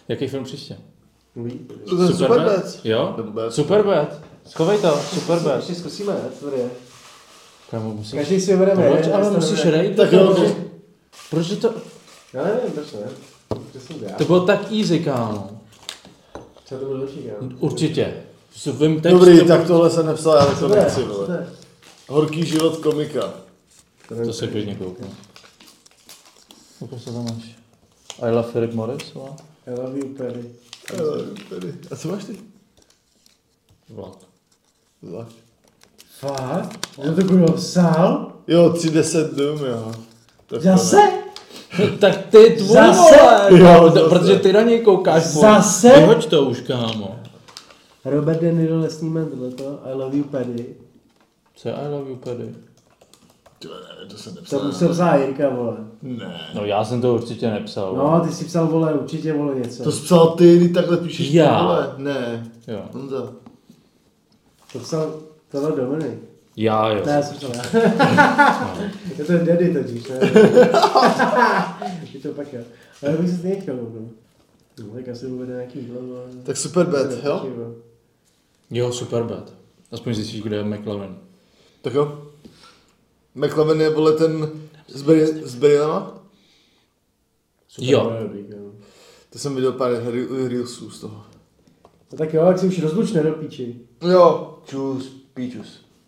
[SPEAKER 2] Jaký film příště?
[SPEAKER 6] Uvidí.
[SPEAKER 1] To je Superbad.
[SPEAKER 2] Jo?
[SPEAKER 1] Superbad.
[SPEAKER 2] Superbad. Schovej to, Superbad.
[SPEAKER 6] Ještě zkusíme, co tady je.
[SPEAKER 2] Kámo, musíš...
[SPEAKER 6] Každý no. si vybereme.
[SPEAKER 2] Proč,
[SPEAKER 6] jeden,
[SPEAKER 2] ale
[SPEAKER 6] jeden
[SPEAKER 2] musíš
[SPEAKER 6] stanovíme.
[SPEAKER 2] rejt?
[SPEAKER 1] Tak jo, že-
[SPEAKER 2] Proč je to...
[SPEAKER 6] Já nevím, proč ne. Proč jsem já?
[SPEAKER 2] To bylo tak easy, kámo.
[SPEAKER 6] Třeba to bylo lepší, já.
[SPEAKER 2] Určitě. S- Vím text,
[SPEAKER 1] Dobrý, tak tohle jsem nepsal, já
[SPEAKER 6] Co
[SPEAKER 1] to
[SPEAKER 6] to je?
[SPEAKER 1] nechci,
[SPEAKER 6] Co to
[SPEAKER 1] vole.
[SPEAKER 6] je?
[SPEAKER 1] Horký život komika.
[SPEAKER 2] To se klidně kouknu. Koukám se tam máš. I love Philip Morris, vole.
[SPEAKER 6] I love you, Perry.
[SPEAKER 1] A co máš ty?
[SPEAKER 2] Vlak.
[SPEAKER 1] Zvlášť.
[SPEAKER 6] Fakt? Já to kurva psal?
[SPEAKER 1] Jo, 310 dům, jo. Tak to
[SPEAKER 6] Zase?
[SPEAKER 1] ne.
[SPEAKER 2] No, tak ty tvůj,
[SPEAKER 6] Zase?
[SPEAKER 2] vole,
[SPEAKER 1] Jo,
[SPEAKER 2] kámo,
[SPEAKER 1] zase.
[SPEAKER 2] protože ty na něj koukáš. vole.
[SPEAKER 6] Zase?
[SPEAKER 2] Vyhoď to už, kámo.
[SPEAKER 6] Robert De Niro nesníme tohleto. I love you, Perry.
[SPEAKER 2] Co je I love you, Paddy?
[SPEAKER 1] Ty vole, ne, to jsem
[SPEAKER 6] To
[SPEAKER 1] nepsal.
[SPEAKER 6] musel psát Jirka, vole.
[SPEAKER 1] Ne.
[SPEAKER 2] No já jsem to určitě nepsal. vole.
[SPEAKER 6] No, ty si psal, vole, určitě, vole, něco.
[SPEAKER 1] To jsi psal ty, kdy takhle píšeš ty,
[SPEAKER 2] Já.
[SPEAKER 1] vole. Ne.
[SPEAKER 2] Jo.
[SPEAKER 1] Honza.
[SPEAKER 6] To psal tohle Dominik.
[SPEAKER 2] Já jo.
[SPEAKER 6] Ne, já jsem psal já. Je to Daddy totiž, ne? Je to pak já. Ale já bych se stejně chtěl kouknout. No, tak asi uvede nějaký hlavu. ale-
[SPEAKER 1] Tak Superbad, jo?
[SPEAKER 2] Jo, Superbad. Aspoň zjistíš, kde je McLaren.
[SPEAKER 1] Tak jo. McLaren je, vole, ten s bri- s brýlema?
[SPEAKER 6] Super,
[SPEAKER 2] Jo.
[SPEAKER 6] ale dobrý, jo.
[SPEAKER 1] To jsem viděl pár re- reelsů z toho.
[SPEAKER 6] No tak jo, jak si už rozlučne do píči.
[SPEAKER 1] Jo. Čus, píčus.